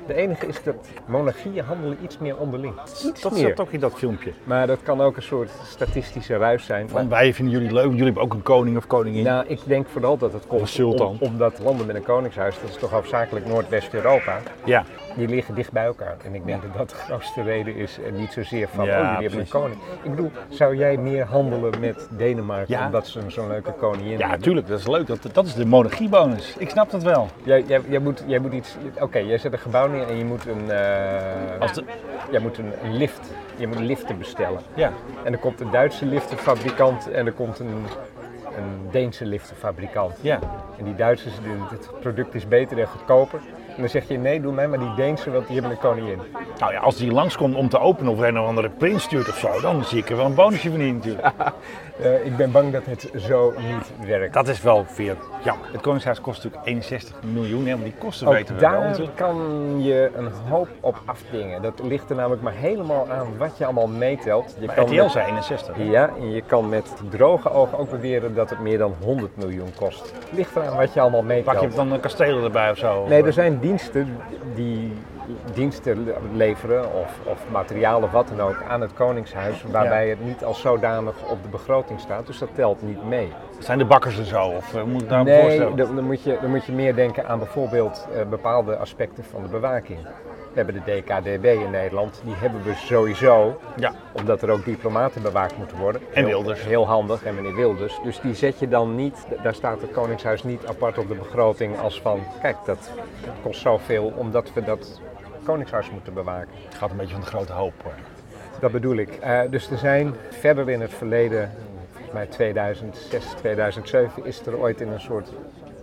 Speaker 4: De enige is dat monarchieën handelen iets meer onderling. Iets
Speaker 3: dat
Speaker 4: meer.
Speaker 3: zat ook in dat filmpje.
Speaker 4: Maar dat kan ook een soort statistische ruis zijn.
Speaker 3: Van wij vinden jullie leuk, jullie hebben ook een koning of koningin.
Speaker 4: Nou, ik denk vooral dat het
Speaker 3: Of
Speaker 4: komt
Speaker 3: sultan.
Speaker 4: om- omdat landen met een koningshuis, dat is toch hoofdzakelijk Noordwest-Europa,
Speaker 3: Ja,
Speaker 4: die liggen dicht bij elkaar. En ik denk dat dat de grootste reden is en niet zozeer van,
Speaker 3: Ja,
Speaker 4: oh jullie hebben
Speaker 3: precies.
Speaker 4: een koning. Ik bedoel, zou jij meer handelen met Denemarken
Speaker 3: Ja.
Speaker 4: omdat ze een- zo'n leuke koningin
Speaker 3: ja
Speaker 4: hebben?
Speaker 3: natuurlijk, dat is leuk. Dat, dat is de monarchiebonus. Ik snap dat wel.
Speaker 4: Jij, jij, jij, moet, jij moet iets, oké, jij zet een gebouw neer en je moet een, eh,
Speaker 3: Als de,
Speaker 4: jij moet een, een lift, je moet liften bestellen.
Speaker 3: ja,
Speaker 4: En er komt een Duitse liftenfabrikant en er komt een, een Deense liftenfabrikant.
Speaker 3: ja.
Speaker 4: En die Duitsers, die- het product is beter en goedkoper. En dan zeg je, nee, doe mij maar die Deense, want die hebben een koningin.
Speaker 3: Nou ja, als die langskomt om te openen of een of andere prins stuurt of zo, dan zie ik er wel een bonusje van in natuurlijk.
Speaker 4: Eh, ik ben bang dat het zo niet werkt.
Speaker 3: Dat is wel weer jammer. Het Koningshuis kost natuurlijk 61 miljoen, hè, want die kosten weten
Speaker 4: Ook
Speaker 3: we wel
Speaker 4: daar
Speaker 3: natuurlijk.
Speaker 4: kan je een hoop op afdingen. Dat ligt er namelijk maar helemaal aan wat je allemaal meetelt. Je
Speaker 3: Maar
Speaker 4: kan
Speaker 3: RTL
Speaker 4: met-
Speaker 3: zei 61.
Speaker 4: Ja, en je kan met droge ogen ook beweren dat het meer dan 100 miljoen kost. Ligt eraan wat je allemaal
Speaker 3: Pak je
Speaker 4: meetelt.
Speaker 3: dan een kastelen erbij of eh, zo?
Speaker 4: Nee, er zijn diensten die diensten le- leveren of, of materiaal of wat dan ook aan het Koningshuis, waarbij het niet als zodanig op de begroting staat, dus dat telt niet mee.
Speaker 3: eh, Zijn de bakkers er zo? Of eh, moet ik daar een
Speaker 4: Nee,
Speaker 3: voorstellen?
Speaker 4: dan, dan moet je, dan moet je meer denken aan bijvoorbeeld eh, bepaalde aspecten van de bewaking. We hebben de DKDB in Nederland, die hebben we sowieso,
Speaker 3: Ja.
Speaker 4: omdat er ook diplomaten bewaakt moeten worden.
Speaker 3: En
Speaker 4: Heel-
Speaker 3: Wilders.
Speaker 4: Heel handig, en meneer Wilders. Dus die zet je dan niet, daar staat het Koningshuis niet apart op de begroting als van, kijk, dat kost zoveel omdat we dat Koningshuis moeten bewaken.
Speaker 3: Het gaat een beetje van de grote hoop. hoor.
Speaker 4: Dat bedoel ik. Eh, dus er zijn verder in het verleden, volgens mij 2006, 2007, is er ooit in een soort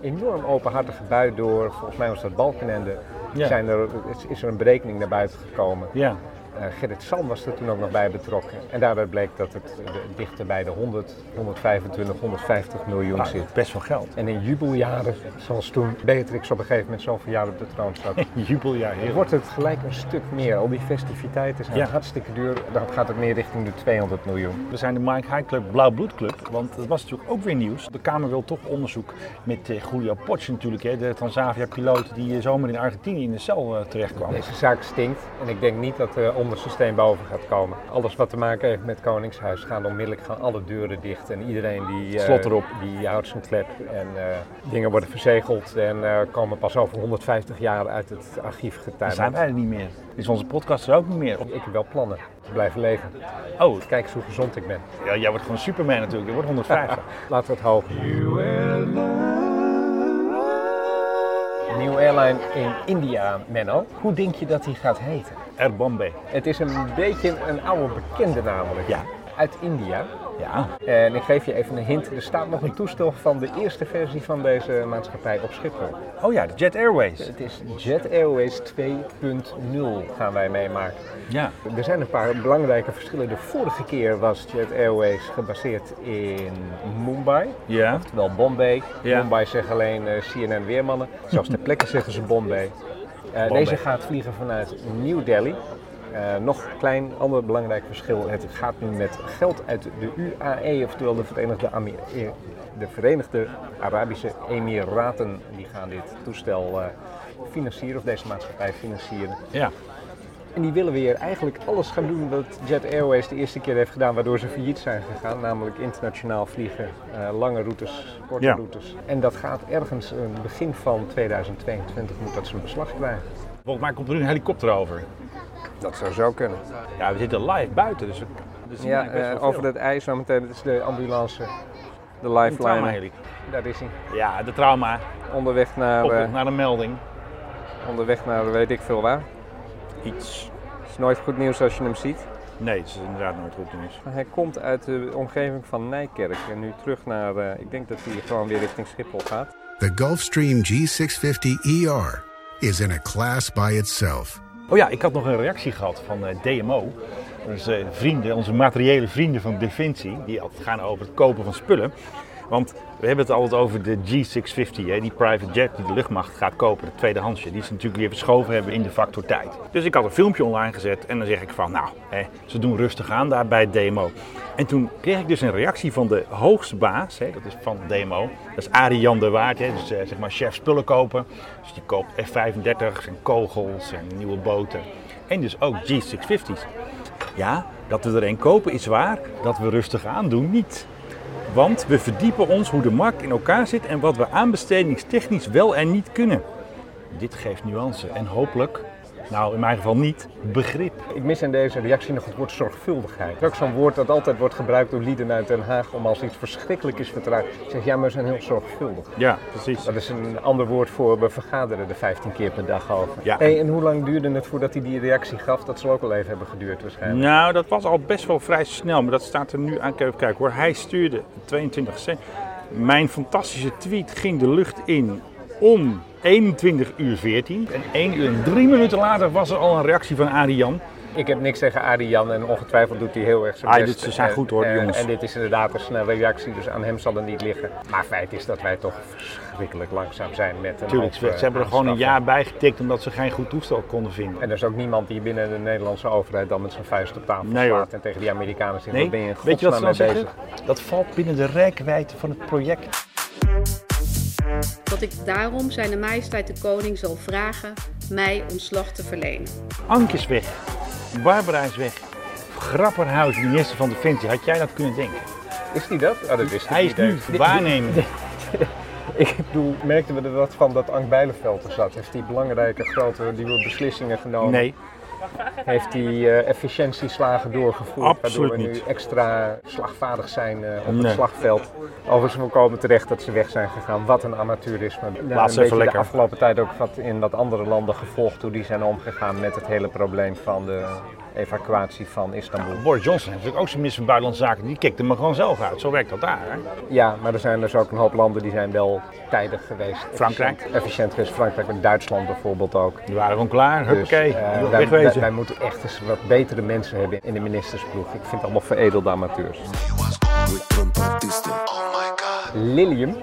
Speaker 4: enorm openhartige bui door, volgens mij was dat Balkenende,
Speaker 3: Ja.
Speaker 4: zijn er, is, is er een berekening naar buiten gekomen.
Speaker 3: Ja.
Speaker 4: Eh, Gerrit Salm was er toen ook nog bij betrokken. En daaruit bleek dat het eh, dichter bij de 100, 125, 150 miljoen
Speaker 3: Nou,
Speaker 4: zit.
Speaker 3: best wel geld.
Speaker 4: En in jubeljaren, zoals toen Beatrix op een gegeven moment zoveel jaar op de troon zat,
Speaker 3: Jubeljaar,
Speaker 4: dan
Speaker 3: heerlijk.
Speaker 4: wordt het gelijk een stuk meer. Al die festiviteiten zijn
Speaker 3: Ja.
Speaker 4: hartstikke duur. Dan gaat het meer richting de 200 miljoen.
Speaker 3: We zijn de Mike High Club Blauw Bloed Club, want dat was natuurlijk ook weer nieuws. De Kamer wil toch onderzoek met eh, Julio Potts natuurlijk, hè, de Transavia-piloot die eh, zomaar in Argentinië in de cel eh, terecht kwam.
Speaker 4: Deze zaak stinkt en ik denk niet dat er onderste steen boven gaat komen. Alles wat te maken heeft met Koningshuis gaan onmiddellijk gaan alle deuren dicht. En iedereen die, eh,
Speaker 3: Slot erop.
Speaker 4: die houdt zijn klep. En eh, dingen worden verzegeld en eh, komen pas over 150 jaar uit het archief
Speaker 3: Daar zijn
Speaker 4: getuigd.
Speaker 3: wij er niet meer. Is onze podcast er ook niet meer?
Speaker 4: Ik heb wel plannen te blijven leven.
Speaker 3: Oh,
Speaker 4: Kijk eens hoe gezond ik ben.
Speaker 3: ja, jij wordt gewoon Superman natuurlijk, je wordt 150.
Speaker 4: Laten we het hopen. Nieuw airline in India, Menno. Hoe denk je dat die gaat heten?
Speaker 3: Air Bombay.
Speaker 4: Het is een beetje een oude bekende namelijk.
Speaker 3: Ja.
Speaker 4: Uit India.
Speaker 3: Ja,
Speaker 4: En ik geef je even een hint. Er staat nog een toestel van de eerste versie van deze maatschappij op Schiphol.
Speaker 3: oh ja, de Jet Airways.
Speaker 4: Het is Jet Airways 2.0 gaan wij meemaken.
Speaker 3: Ja,
Speaker 4: Er zijn een paar belangrijke verschillen. De vorige keer was Jet Airways gebaseerd in Mumbai.
Speaker 3: ja.
Speaker 4: Wel Bombay.
Speaker 3: Ja.
Speaker 4: Bombay zeggen alleen eh, CNN Weermannen. Zelfs ter plekke zeggen ze Bombay. Eh, Deze gaat vliegen vanuit New Delhi. Eh, nog een klein ander belangrijk verschil. Het gaat nu met geld uit de UAE, oftewel de Verenigde, Ami- eh, de Verenigde Arabische Emiraten. Die gaan dit toestel eh, financieren, of deze maatschappij financieren.
Speaker 3: ja.
Speaker 4: En die willen weer eigenlijk alles gaan doen wat Jet Airways de eerste keer heeft gedaan, waardoor ze failliet zijn gegaan. Namelijk internationaal vliegen, eh, lange routes, korte
Speaker 3: Ja.
Speaker 4: routes. En dat gaat ergens eh, begin van 2022 moet dat zijn beslag krijgen.
Speaker 3: Volgens mij komt er nu een helikopter over.
Speaker 4: Dat zou zo kunnen.
Speaker 3: Ja, we zitten live buiten, dus we, we zien
Speaker 4: Ja,
Speaker 3: eigenlijk best
Speaker 4: eh,
Speaker 3: wel
Speaker 4: over
Speaker 3: veel.
Speaker 4: dat ijs zometeen, dat is de ambulance. de
Speaker 3: Een trauma
Speaker 4: lifeline.
Speaker 3: heli.
Speaker 4: Daar is hij.
Speaker 3: Ja, de trauma.
Speaker 4: Onderweg naar,
Speaker 3: Op
Speaker 4: eh,
Speaker 3: weg naar een melding.
Speaker 4: onderweg naar weet ik veel waar.
Speaker 3: Iets.
Speaker 4: Het is nooit goed nieuws als je hem ziet.
Speaker 3: Nee, het is inderdaad nooit goed nieuws.
Speaker 4: Hij komt uit de omgeving van Nijkerk en nu terug naar, eh, ik denk dat hij gewoon weer richting Schiphol gaat.
Speaker 11: The Gulfstream G650 ER E is in a class by itself.
Speaker 3: Oh ja, ik had nog een reactie gehad van eh, DMO. Dus eh, vrienden, onze materiële vrienden van Defensie, die altijd gaan over het kopen van spullen. Want we hebben het altijd over de G650, hè, die private jet die de luchtmacht gaat kopen, het tweedehandsje. Die ze natuurlijk weer verschoven hebben in de factor tijd. Dus ik had een filmpje online gezet en dan zeg ik van, nou, hè, ze doen rustig aan daar bij het DMO. En toen kreeg ik dus een reactie van de hoogste baas, hè, dat is van DMO. Dat is Arian de Waard, hè, dus eh, zeg maar chef spullen kopen. Dus die koopt F-35's en kogels en nieuwe boten. En dus ook G650's. Ja, dat we er een kopen is waar, dat we rustig aan doen niet. Want we verdiepen ons hoe de markt in elkaar zit en wat we aanbestedingstechnisch wel en niet kunnen. Dit geeft nuance en hopelijk, nou in mijn geval niet, begrip.
Speaker 4: Ik mis in deze reactie nog het woord zorgvuldigheid. Dat is ook zo'n woord dat altijd wordt gebruikt door lieden uit Den Haag om als iets verschrikkelijk is vertraagd. Zeg ja, maar we zijn heel zorgvuldig.
Speaker 3: Ja, precies.
Speaker 4: Dat is een ander woord voor we vergaderen er 15 keer per dag over.
Speaker 3: Ja.
Speaker 4: Hey, en hoe lang duurde het voordat hij die reactie gaf? Dat zal ook wel even hebben geduurd waarschijnlijk.
Speaker 3: Nou, dat was al best wel vrij snel, maar dat staat er nu aan. Kijk, kijk hoor, hij stuurde 22 cent. Mijn fantastische tweet ging de lucht in om 21 uur 14. En 1 uur en 3 minuten later was er al een reactie van Arian.
Speaker 4: Ik heb niks tegen Arian en ongetwijfeld doet hij heel erg zijn
Speaker 3: Hij
Speaker 4: best.
Speaker 3: doet- ze zijn
Speaker 4: En-
Speaker 3: goed hoor, die
Speaker 4: en-
Speaker 3: jongens.
Speaker 4: En dit is inderdaad een snelle reactie, dus aan hem zal het niet liggen. Maar feit is dat wij toch verschrikkelijk langzaam zijn met een
Speaker 3: Natuurlijk,
Speaker 4: hoop,
Speaker 3: ze,
Speaker 4: eh,
Speaker 3: ze hebben er gewoon een
Speaker 4: aanschaffen.
Speaker 3: jaar bij getikt omdat ze geen goed toestel konden vinden.
Speaker 4: En er is ook niemand die binnen de Nederlandse overheid dan met zijn vuist op tafel
Speaker 3: Nee, hoor.
Speaker 4: slaat en tegen die Amerikanen zegt,
Speaker 3: Nee,
Speaker 4: wat ben je in
Speaker 3: weet je wat ze
Speaker 4: godsnaam
Speaker 3: dan
Speaker 4: mee
Speaker 3: zeggen?
Speaker 4: bezig?
Speaker 3: Dat valt binnen de rijkwijde van het project.
Speaker 2: Dat ik daarom zijn majesteit de koning zal vragen mij ontslag te verlenen.
Speaker 3: Ank is weg, Barbara is weg, Grapperhaus, minister van Defensie. Had jij dat kunnen denken?
Speaker 4: Is die dat? Oh, dat wist ik
Speaker 3: Hij is
Speaker 4: niet
Speaker 3: nu
Speaker 4: eens. Dit-
Speaker 3: waarnemer.
Speaker 4: Ik bedoel, merkten we er wat van dat Ank Bijleveld er zat? Heeft hij belangrijke, grote, nieuwe beslissingen genomen?
Speaker 3: Oh, Nee,
Speaker 4: Heeft hij eh, efficiëntieslagen doorgevoerd?
Speaker 3: Absoluut
Speaker 4: waardoor we
Speaker 3: niet.
Speaker 4: nu extra slagvaardig zijn eh, op
Speaker 3: Nee.
Speaker 4: het slagveld. Overigens voorkomen terecht dat ze weg zijn gegaan. Wat een amateurisme. Ik
Speaker 3: even lekker.
Speaker 4: de afgelopen tijd ook wat in wat andere landen gevolgd hoe die zijn omgegaan met het hele probleem van de evacuatie van Istanbul.
Speaker 3: Boris Johnson heeft natuurlijk ook zijn minister van Buitenlandse Zaken. Die kikt hem er gewoon zelf uit. Zo werkt dat daar. Hè?
Speaker 4: Ja, maar er zijn dus ook een hoop landen die zijn wel tijdig geweest.
Speaker 3: Frankrijk.
Speaker 4: Efficiënt, efficiënt geweest. Frankrijk en Duitsland bijvoorbeeld ook.
Speaker 3: Die waren gewoon klaar. Huppakee.
Speaker 4: Dus, eh,
Speaker 3: Joh,
Speaker 4: wij, wij,
Speaker 3: wegwezen.
Speaker 4: wij moeten echt eens wat betere mensen hebben in de ministersploeg. Ik vind het allemaal veredelde amateurs. Lilium,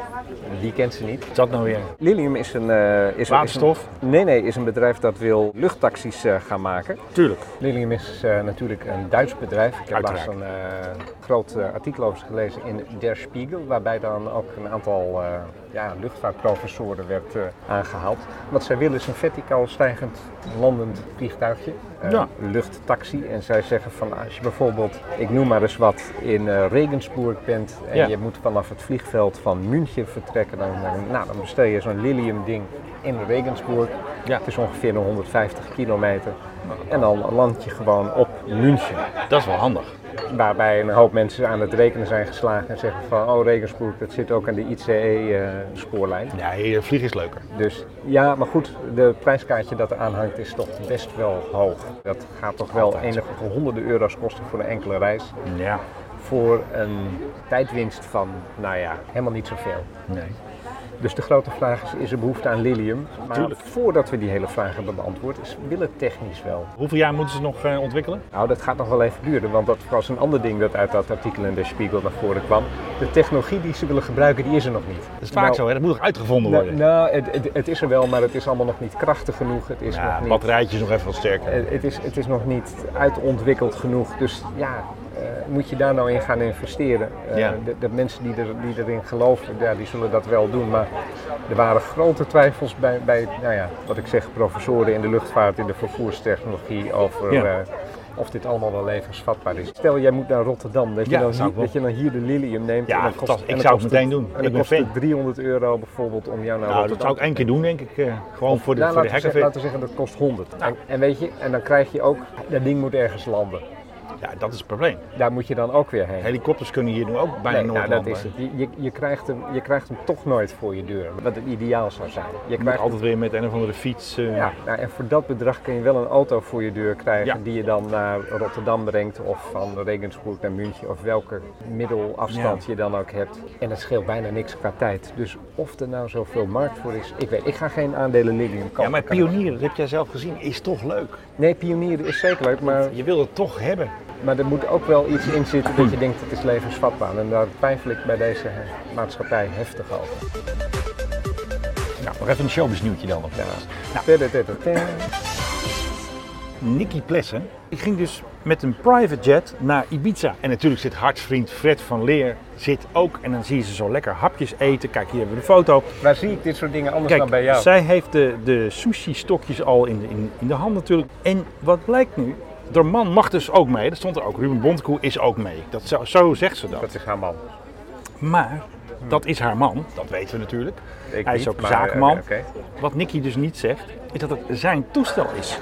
Speaker 4: die kent ze niet.
Speaker 3: Wat is dat nou weer?
Speaker 4: Lilium is een... eh, is- is een-
Speaker 3: Waterstof?
Speaker 4: nee, nee, is een bedrijf dat wil luchttaxis eh, gaan maken.
Speaker 3: Tuurlijk.
Speaker 4: Lilium is eh, natuurlijk een Duits bedrijf. Ik heb laatst
Speaker 3: Uiteraard.
Speaker 4: een eh, groot eh, artikel over ze gelezen in Der Spiegel, waarbij dan ook een aantal eh, ja, luchtvaartprofessoren werd eh, aangehaald. Wat zij willen is een verticaal stijgend landend vliegtuigje, eh,
Speaker 3: Ja.
Speaker 4: luchttaxi. En zij zeggen van als je bijvoorbeeld, ik noem maar eens wat, in eh, Regensburg bent en
Speaker 3: Ja.
Speaker 4: je moet vanaf het vliegveld van München vertrekken, dan, dan- nou, dan bestel je zo'n Lilium ding in Regensburg.
Speaker 3: Ja.
Speaker 4: Het is ongeveer een 150 kilometer. En dan land je gewoon op München.
Speaker 3: Dat is wel handig.
Speaker 4: Waarbij een hoop mensen aan het rekenen zijn geslagen en zeggen van oh Regensburg, dat zit ook aan de E, eh, ICE-spoorlijn.
Speaker 3: Ja,
Speaker 4: eh,
Speaker 3: hier vliegen is leuker.
Speaker 4: Dus ja, maar goed, de prijskaartje dat er aan hangt is toch best wel hoog. Dat gaat toch wel
Speaker 3: Altijd.
Speaker 4: enige honderden euro's kosten voor een enkele reis.
Speaker 3: Ja.
Speaker 4: Voor een tijdwinst van, nou ja, helemaal niet zoveel.
Speaker 3: Nee.
Speaker 4: Dus de grote vraag is, is er behoefte aan lilium? Maar
Speaker 3: Tuurlijk.
Speaker 4: voordat we die hele vraag hebben beantwoord, is, wil het technisch wel?
Speaker 3: Hoeveel jaar moeten ze nog eh, ontwikkelen?
Speaker 4: Nou, dat gaat nog wel even duren, want dat was een ander ding dat uit dat artikel in de Spiegel naar voren kwam. De technologie die ze willen gebruiken, die is er nog niet.
Speaker 3: Dat is vaak zo, hè? dat moet nog uitgevonden
Speaker 4: Nou,
Speaker 3: worden.
Speaker 4: nou, het, het, het is er wel, maar het is allemaal nog niet krachtig genoeg. Het is
Speaker 3: ja,
Speaker 4: nog
Speaker 3: het
Speaker 4: niet
Speaker 3: batterijtje is nog even wat sterker.
Speaker 4: eh, het, is, het is nog niet uitontwikkeld genoeg. Dus ja, eh, moet je daar nou in gaan investeren? Eh,
Speaker 3: Ja.
Speaker 4: de, de mensen die, er, die erin geloven, ja, die zullen dat wel doen. Maar er waren grote twijfels bij, bij nou ja, wat ik zeg, professoren in de luchtvaart, in de vervoerstechnologie over.
Speaker 3: Ja.
Speaker 4: eh, of dit allemaal wel levensvatbaar is. Stel, jij moet naar Rotterdam. Dat,
Speaker 3: Ja,
Speaker 4: je, dan
Speaker 3: zou ik
Speaker 4: hier, dat
Speaker 3: wel.
Speaker 4: je dan hier de Lilium neemt.
Speaker 3: Ja,
Speaker 4: en dan
Speaker 3: fantastisch.
Speaker 4: en dan
Speaker 3: Ik zou het
Speaker 4: kost
Speaker 3: meteen doen.
Speaker 4: En
Speaker 3: Ik
Speaker 4: dan
Speaker 3: ben
Speaker 4: kost het
Speaker 3: fan.
Speaker 4: 300 euro bijvoorbeeld om jou naar
Speaker 3: nou, dat
Speaker 4: Rotterdam
Speaker 3: zou ik één keer doen, denk ik. eh, gewoon voor de,
Speaker 4: nou, laten,
Speaker 3: voor de
Speaker 4: we zeggen,
Speaker 3: hekkenfeest.
Speaker 4: laten we zeggen dat kost 100. En, en weet je, en dan krijg je ook, dat ding moet ergens landen.
Speaker 3: Ja, dat is het probleem.
Speaker 4: Daar moet je dan ook weer heen.
Speaker 3: Helikopters kunnen hier nu ook bijna
Speaker 4: Nee,
Speaker 3: nooit
Speaker 4: nou, dat
Speaker 3: landen.
Speaker 4: is het. Je, je, je krijgt hem, je krijgt hem toch nooit voor je deur, wat het ideaal zou zijn. Je
Speaker 3: Je moet
Speaker 4: krijgt hem-
Speaker 3: altijd weer met een of andere fiets. eh,
Speaker 4: ja, nou, en voor dat bedrag kun je wel een auto voor je deur krijgen
Speaker 3: Ja.
Speaker 4: die je dan naar Rotterdam brengt of van Regensburg naar München of welke middelafstand
Speaker 3: Ja.
Speaker 4: je dan ook hebt. En dat scheelt bijna niks qua tijd. Dus of er nou zoveel markt voor is, ik weet, ik ga geen aandelen Lilium kopen.
Speaker 3: Ja, maar
Speaker 4: Kan ik-
Speaker 3: pionier, dat heb jij zelf gezien, is toch leuk.
Speaker 4: Nee, pionieren is zeker leuk, maar,
Speaker 3: Je wil het toch hebben.
Speaker 4: maar er moet ook wel iets in zitten dat je denkt het is levensvatbaar. En daar twijfel ik bij deze eh, maatschappij heftig over.
Speaker 3: Nou, nog even een showbiznieuwtje dan. Nog. Nou, Nicky Plessen. Ik ging dus met een private jet naar Ibiza. En natuurlijk zit hartsvriend Fred van Leer zit ook. En dan zie je ze zo lekker hapjes eten. Kijk, hier hebben we de foto.
Speaker 4: Waar zie ik dit soort dingen anders
Speaker 3: Kijk,
Speaker 4: dan bij jou?
Speaker 3: zij heeft de, de sushi-stokjes al in de, in, in de hand natuurlijk. En wat blijkt nu? De man mag dus ook mee. Dat stond er ook. Ruben Bontekoe is ook mee. Dat, zo, zo zegt Hmm. ze dat.
Speaker 4: Dat is haar man.
Speaker 3: Maar dat is haar man. Dat weten we natuurlijk.
Speaker 4: Ik
Speaker 3: Hij is
Speaker 4: niet,
Speaker 3: ook
Speaker 4: maar,
Speaker 3: zakenman.
Speaker 4: eh, oké.
Speaker 3: Wat Nicky dus niet zegt, is dat het zijn toestel is.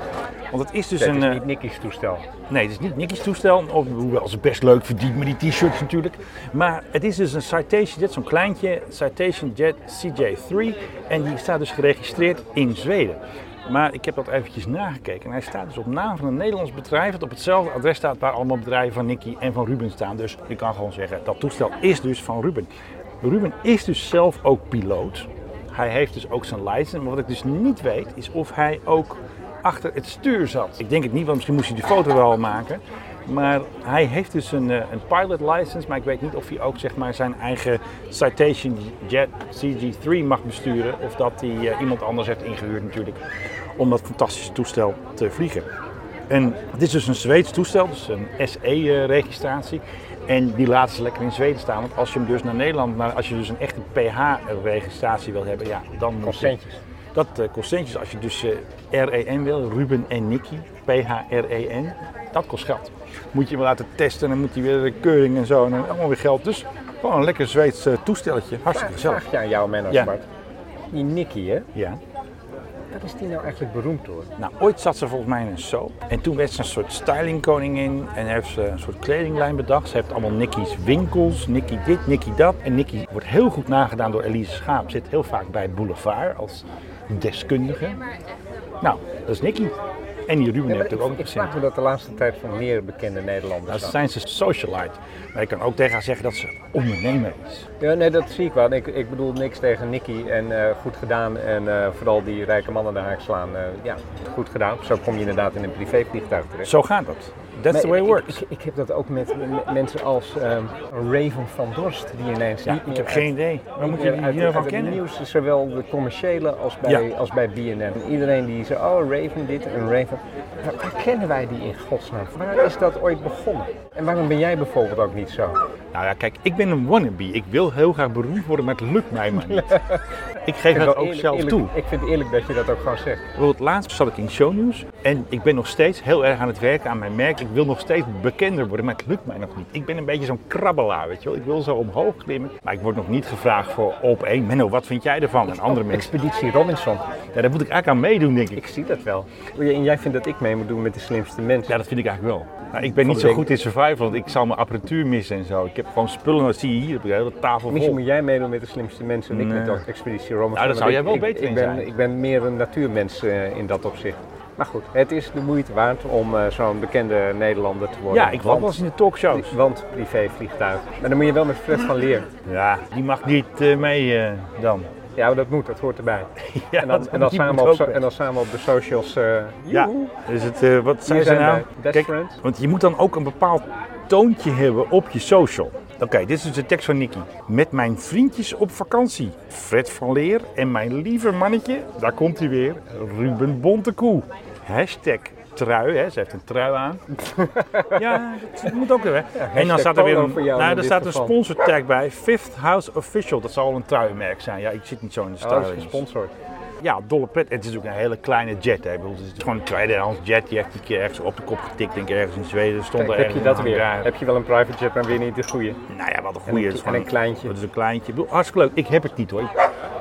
Speaker 3: Want het is dus
Speaker 4: Dit
Speaker 3: een...
Speaker 4: is
Speaker 3: eh,
Speaker 4: niet Nicky's toestel.
Speaker 3: Nee, het is niet Nicky's toestel, of, hoewel ze best leuk verdient met die t-shirts natuurlijk. Maar het is dus een Citation Jet, zo'n kleintje, Citation Jet CJ3. En die staat dus geregistreerd in Zweden. Maar ik heb dat eventjes nagekeken. En hij staat dus op naam van een Nederlands bedrijf dat op hetzelfde adres staat waar allemaal bedrijven van Nicky en van Ruben staan. Dus je kan gewoon zeggen, dat toestel is dus van Ruben. Ruben is dus zelf ook piloot. Hij heeft dus ook zijn license. Maar wat ik dus niet weet, is of hij ook achter het stuur zat. Ik denk het niet, want misschien moest hij de foto wel maken. Maar hij heeft dus een, eh, een pilot license, maar ik weet niet of hij ook zeg maar, zijn eigen Citation Jet CG3 mag besturen. Of dat hij eh, iemand anders heeft ingehuurd natuurlijk om dat fantastische toestel te vliegen. En het is dus een Zweeds toestel, dus een SE-registratie. En die laten ze lekker in Zweden staan. Want als je hem dus naar Nederland, naar, als je dus een echte PH-registratie wil hebben, ja, dan moet je-
Speaker 4: Consentjes.
Speaker 3: dat eh, kost centjes. Als je dus eh, REN wil, Ruben en Nicky, PHREN, E dat kost geld. Moet je hem laten testen en dan moet hij weer de keuring en zo en dan allemaal weer geld. Dus gewoon een lekker Zweeds eh, toestelletje. Hartstikke gezellig.
Speaker 4: Vraag je aan jouw Menno
Speaker 3: Ja.
Speaker 4: Zwart. Die Nicky, hè?
Speaker 3: Ja.
Speaker 4: Wat is die nou eigenlijk beroemd door?
Speaker 3: Nou, ooit zat ze volgens mij in een soap. En toen werd ze een soort stylingkoningin en heeft ze een soort kledinglijn bedacht. Ze heeft allemaal Nicky's winkels, Nicky dit, Nicky dat. En Nicky wordt heel goed nagedaan door Elise Schaap. Zit heel vaak bij Boulevard als deskundige. Nou, dat is Nicky. En die Ruben heeft
Speaker 4: ik,
Speaker 3: natuurlijk ook
Speaker 4: ik
Speaker 3: een patiënt.
Speaker 4: vraag me dat de laatste tijd van meer bekende Nederlanders.
Speaker 3: Nou,
Speaker 4: af.
Speaker 3: zijn ze socialite. Maar ik kan ook tegen haar zeggen dat ze ondernemer is.
Speaker 4: Ja, nee, dat zie ik wel. Ik, ik bedoel niks tegen Nicky en eh, goed gedaan. En eh, vooral die rijke mannen de haak slaan. eh, ja, goed gedaan. Zo kom je inderdaad in een privévliegtuig terecht.
Speaker 3: Zo gaat dat. That's the way it
Speaker 4: ik,
Speaker 3: works.
Speaker 4: Ik, ik heb dat ook met, met mensen als ehm, Raven van Dorst, die ineens
Speaker 3: Ja,
Speaker 4: niet
Speaker 3: ik
Speaker 4: meer
Speaker 3: heb
Speaker 4: uit-
Speaker 3: geen idee. Waar moet je
Speaker 4: Ja,
Speaker 3: die
Speaker 4: uit-
Speaker 3: hiervan
Speaker 4: uit het
Speaker 3: kennen?
Speaker 4: nieuws, zowel de commerciële als bij,
Speaker 3: Ja.
Speaker 4: als bij BNN. Iedereen die zei, oh Raven dit en Raven... Waar, waar kennen wij die in godsnaam? Waar is dat ooit begonnen? En waarom ben jij bijvoorbeeld ook niet zo?
Speaker 3: Nou ja, kijk, ik ben een wannabe. Ik wil heel graag beroemd worden, maar het lukt mij maar niet. Ik geef
Speaker 4: Ik
Speaker 3: dat
Speaker 4: wel
Speaker 3: ook
Speaker 4: eerlijk-
Speaker 3: zelf
Speaker 4: eerlijk-
Speaker 3: toe.
Speaker 4: Ik vind het eerlijk dat je dat ook gewoon zegt.
Speaker 3: Bijvoorbeeld laatst zat ik in shownieuws en ik ben nog steeds heel erg aan het werken aan mijn merk. Ik wil nog steeds bekender worden, maar het lukt mij nog niet. Ik ben een beetje zo'n krabbelaar, weet je wel. Ik wil zo omhoog klimmen, maar ik word nog niet gevraagd voor op één. Menno, wat vind jij ervan? En andere mensen.
Speaker 4: Expeditie Robinson.
Speaker 3: Ja, daar moet ik eigenlijk aan meedoen, denk ik.
Speaker 4: Ik zie dat wel. Oh En jij vindt dat ik mee moet doen met de slimste mensen.
Speaker 3: Ja, dat vind ik eigenlijk wel. Nou, ik ben niet zo
Speaker 4: week-
Speaker 3: goed in survival, want ik zal mijn apparatuur missen en zo. Ik heb gewoon spullen, dat zie je hier, heb ik de hele tafel
Speaker 4: Misschien
Speaker 3: vol.
Speaker 4: moet jij meedoen met de slimste mensen en ik met dat Expeditie Robinson.
Speaker 3: Nou, daar
Speaker 4: want
Speaker 3: zou jij wel
Speaker 4: ik- ik-
Speaker 3: beter in
Speaker 4: ik ben,
Speaker 3: zijn.
Speaker 4: Ik ben meer een natuurmens eh, in dat opzicht. Maar goed, het is de moeite waard om eh, zo'n bekende Nederlander te worden.
Speaker 3: Ja, ik was wel eens in de talkshows.
Speaker 4: Want privévliegtuig. Maar dan moet je wel met Fred van Leer.
Speaker 3: Ja, die mag niet eh, mee eh, dan.
Speaker 4: Ja, maar dat moet, dat hoort erbij.
Speaker 3: Ja,
Speaker 4: en,
Speaker 3: dat-
Speaker 4: dan, en, dan
Speaker 3: die
Speaker 4: samen
Speaker 3: moet
Speaker 4: op,
Speaker 3: ook
Speaker 4: so-
Speaker 3: mee.
Speaker 4: en dan samen op de socials. eh,
Speaker 3: Ja,
Speaker 4: joehoe.
Speaker 3: dus het, eh, wat zijn ze
Speaker 4: zijn
Speaker 3: nou?
Speaker 4: wij, best friends.
Speaker 3: want je moet dan ook een bepaald toontje hebben op je social. Oké, dit is dus de tekst van Nicky. Met mijn vriendjes op vakantie. Fred van Leer en mijn lieve mannetje, daar komt hij weer, Ruben Bontekoe. Hashtag trui, hè. ze heeft een trui aan. ja, dat moet ook weer. hè. en dan
Speaker 4: hashtag
Speaker 3: staat er weer
Speaker 4: polo
Speaker 3: een,
Speaker 4: voor jou in
Speaker 3: nou, er
Speaker 4: dit
Speaker 3: staat een
Speaker 4: geval.
Speaker 3: sponsor tag bij. Fifth House Official, dat zal wel een truienmerk zijn. Ja, ik zit niet zo in de
Speaker 4: Oh, dat is
Speaker 3: styling.
Speaker 4: gesponsord.
Speaker 3: Ja, dolle pret. En het is ook een hele kleine jet. Hè. Ik bedoel, het is gewoon een tweedehands jet. Die heeft die keer ergens op de kop getikt. Denk ik ergens in Zweden. Stond
Speaker 4: Kijk,
Speaker 3: er
Speaker 4: heb je
Speaker 3: ergens
Speaker 4: dat
Speaker 3: een
Speaker 4: weer?
Speaker 3: hangar.
Speaker 4: Heb je wel een private jet, maar weer niet de goede?
Speaker 3: Nou ja, wat een
Speaker 4: een
Speaker 3: goeie.
Speaker 4: ki-
Speaker 3: Het is gewoon
Speaker 4: en een kleintje.
Speaker 3: Nou, Het is een kleintje. Ik bedoel, hartstikke leuk. Ik heb het niet hoor.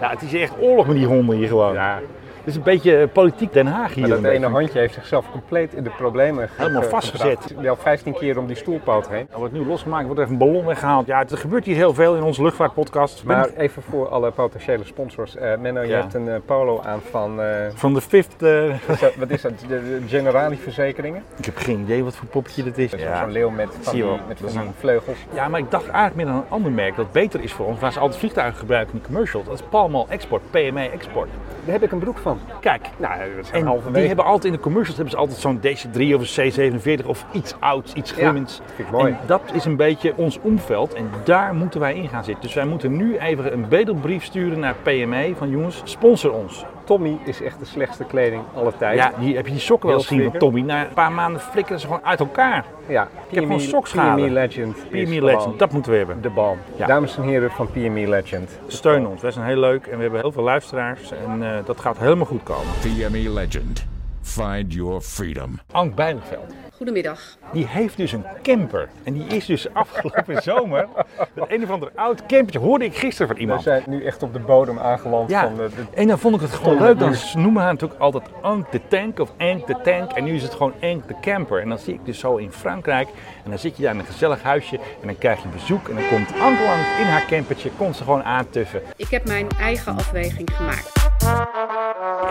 Speaker 3: Ja, het is echt oorlog met die honden hier gewoon.
Speaker 4: Ja.
Speaker 3: is een beetje eh, politiek Den Haag hier.
Speaker 4: Maar dat
Speaker 3: een
Speaker 4: ene
Speaker 3: beetje.
Speaker 4: handje heeft zichzelf compleet in de problemen ge-
Speaker 3: Helemaal
Speaker 4: ge-
Speaker 3: vastgezet.
Speaker 4: gebracht. Wel 15 keer om die stoelpoot heen.
Speaker 3: Er Nou, wordt nu losgemaakt, wordt even een ballon weggehaald. Ja, het- er gebeurt hier heel veel in onze luchtvaartpodcast.
Speaker 4: Maar even voor alle potentiële sponsors. Eh Menno, je
Speaker 3: Ja.
Speaker 4: hebt een eh, polo aan van, eh,
Speaker 3: Van de fifth... eh,
Speaker 4: is dat- wat is dat, de, de Generali-verzekeringen?
Speaker 3: Ik heb geen idee wat voor poppetje dit is.
Speaker 4: Dat is zo'n leeuw met van
Speaker 3: Zie je
Speaker 4: die,
Speaker 3: wel.
Speaker 4: met
Speaker 3: Dat is
Speaker 4: van die
Speaker 3: een-
Speaker 4: vleugels.
Speaker 3: Ja, maar ik dacht eigenlijk meer aan een ander merk dat beter is voor ons. Waar ze altijd vliegtuigen gebruiken in de commercials. Dat is Palmal Export, PME Export.
Speaker 4: Daar heb ik een broek van.
Speaker 3: Kijk,
Speaker 4: Nou, dat zijn
Speaker 3: en
Speaker 4: halverwege.
Speaker 3: die hebben altijd in de commercials hebben ze altijd zo'n DC-3 of een C-47 of iets ouds, iets glimmends.
Speaker 4: vind ik mooi.
Speaker 3: En dat is een beetje ons omveld en daar moeten wij in gaan zitten. Dus wij moeten nu even een bedelbrief sturen naar PME van jongens, sponsor ons.
Speaker 4: Tommy is echt de slechtste kleding alle tijden.
Speaker 3: Ja, hier heb je die sokken wel
Speaker 4: Heel
Speaker 3: eens gezien
Speaker 4: flikker.
Speaker 3: van Tommy. Na een paar maanden flikkeren ze gewoon uit elkaar.
Speaker 4: ja. E
Speaker 3: heb gewoon
Speaker 4: PME
Speaker 3: sokschade.
Speaker 4: PME Legend. is
Speaker 3: PME
Speaker 4: gewoon
Speaker 3: E Legend, dat moeten we hebben.
Speaker 4: De bal.
Speaker 3: Ja.
Speaker 4: Dames en heren van PME Legend.
Speaker 3: Steun ons, wij zijn heel leuk en we hebben heel veel luisteraars en eh, dat gaat helemaal goed komen.
Speaker 12: PME E Legend. Find your freedom.
Speaker 3: Ank Bijleveld,
Speaker 2: Goedemiddag.
Speaker 3: die heeft dus een camper. En die is dus afgelopen zomer met een of ander oud campertje, hoorde ik gisteren van
Speaker 4: We
Speaker 3: iemand.
Speaker 4: zijn nu echt op de bodem aangeland
Speaker 3: Ja,
Speaker 4: van de, de-
Speaker 3: en dan vond ik het gewoon
Speaker 4: Tom
Speaker 3: leuk. Dan
Speaker 4: Cruise.
Speaker 3: noemen we haar natuurlijk altijd Ank de Tank of Ank de Tank. En nu is het gewoon Ank de Camper. En dan zie ik dus zo in Frankrijk. En dan zit je daar in een gezellig huisje. En dan krijg je bezoek. En dan komt Ank langs in haar campertje. Komt ze gewoon aantuffen.
Speaker 2: Ik heb mijn eigen afweging gemaakt.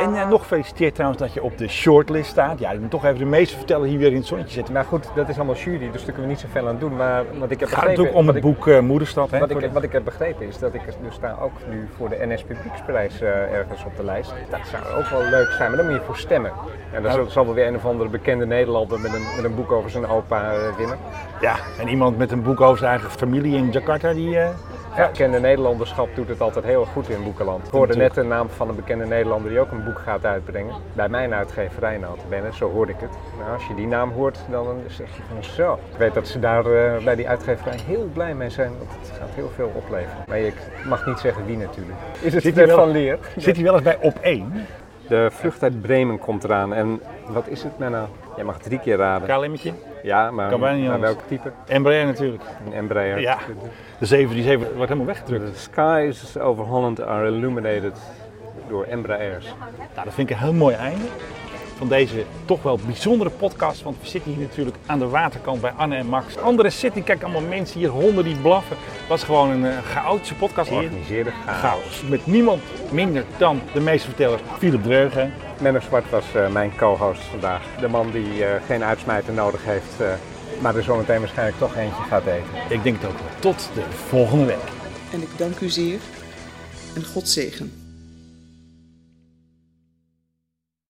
Speaker 3: En eh, nog gefeliciteerd trouwens dat je op de shortlist staat. Ja, ik moet toch even de meeste vertellen hier weer in het zonnetje zitten.
Speaker 4: Nou goed, dat is allemaal jury, dus daar kunnen we niet zoveel aan doen. Maar wat ik heb
Speaker 3: Het gaat
Speaker 4: begrepen,
Speaker 3: natuurlijk om
Speaker 4: wat
Speaker 3: het
Speaker 4: ik-
Speaker 3: boek eh, Moederstad. Hè,
Speaker 4: Wat
Speaker 3: voor
Speaker 4: ik,
Speaker 3: de-
Speaker 4: wat ik heb begrepen is dat ik dus daar ook nu voor de NS Publieksprijs eh, ergens op de lijst. Dat zou ook wel leuk zijn, maar daar moet je voor stemmen. En
Speaker 3: Nou-
Speaker 4: dan zal, zal wel weer een of andere bekende Nederlander met een, met een boek over zijn opa eh, winnen.
Speaker 3: Ja, en iemand met een boek over zijn eigen familie in Jakarta, die... eh,
Speaker 4: Ja, bekende Nederlanderschap doet het altijd heel goed in Boekenland. Ik hoorde net
Speaker 3: Natuurlijk.
Speaker 4: de naam van een bekende Nederlander die ook een boek gaat uitbrengen. Bij mijn uitgeverij notabene, zo hoorde ik het. Nou, als je die naam hoort, dan zeg je van zo. Ik weet dat ze daar eh, bij die uitgeverij heel blij mee zijn, want het gaat heel veel opleveren. Maar ik mag niet zeggen wie natuurlijk. Is het
Speaker 3: Zit
Speaker 4: Fred
Speaker 3: hij wel-
Speaker 4: van Leer?
Speaker 3: Zit hij wel eens bij op één?
Speaker 4: De vlucht uit Bremen komt eraan. En wat is het, Menno? Jij mag drie keer raden.
Speaker 3: KLM'tje?
Speaker 4: ja, maar,
Speaker 3: kan bijna niet
Speaker 4: maar
Speaker 3: anders.
Speaker 4: welk type?
Speaker 3: Embraer natuurlijk.
Speaker 4: Een Embraer.
Speaker 3: Ja, de 737 wordt helemaal weggedrukt.
Speaker 4: The skies over Holland are illuminated door Embraers.
Speaker 3: Nou, dat vind ik een heel mooi einde van deze toch wel bijzondere podcast. Want we zitten hier natuurlijk aan de waterkant bij Anne en Max. Andere zitten, kijk allemaal mensen hier, honden die blaffen. Het was gewoon een eh, chaotische podcast hier.
Speaker 4: Georganiseerde chaos.
Speaker 3: Chaos. Met niemand minder dan de meesterverteller Philip Dreugen.
Speaker 4: Menno Zwart was eh, mijn co-host vandaag. De man die eh, geen uitsmijter nodig heeft, eh, maar er zometeen waarschijnlijk toch eentje gaat eten.
Speaker 3: Ik denk het ook wel. Tot de volgende week.
Speaker 5: En ik dank u zeer en God zegen.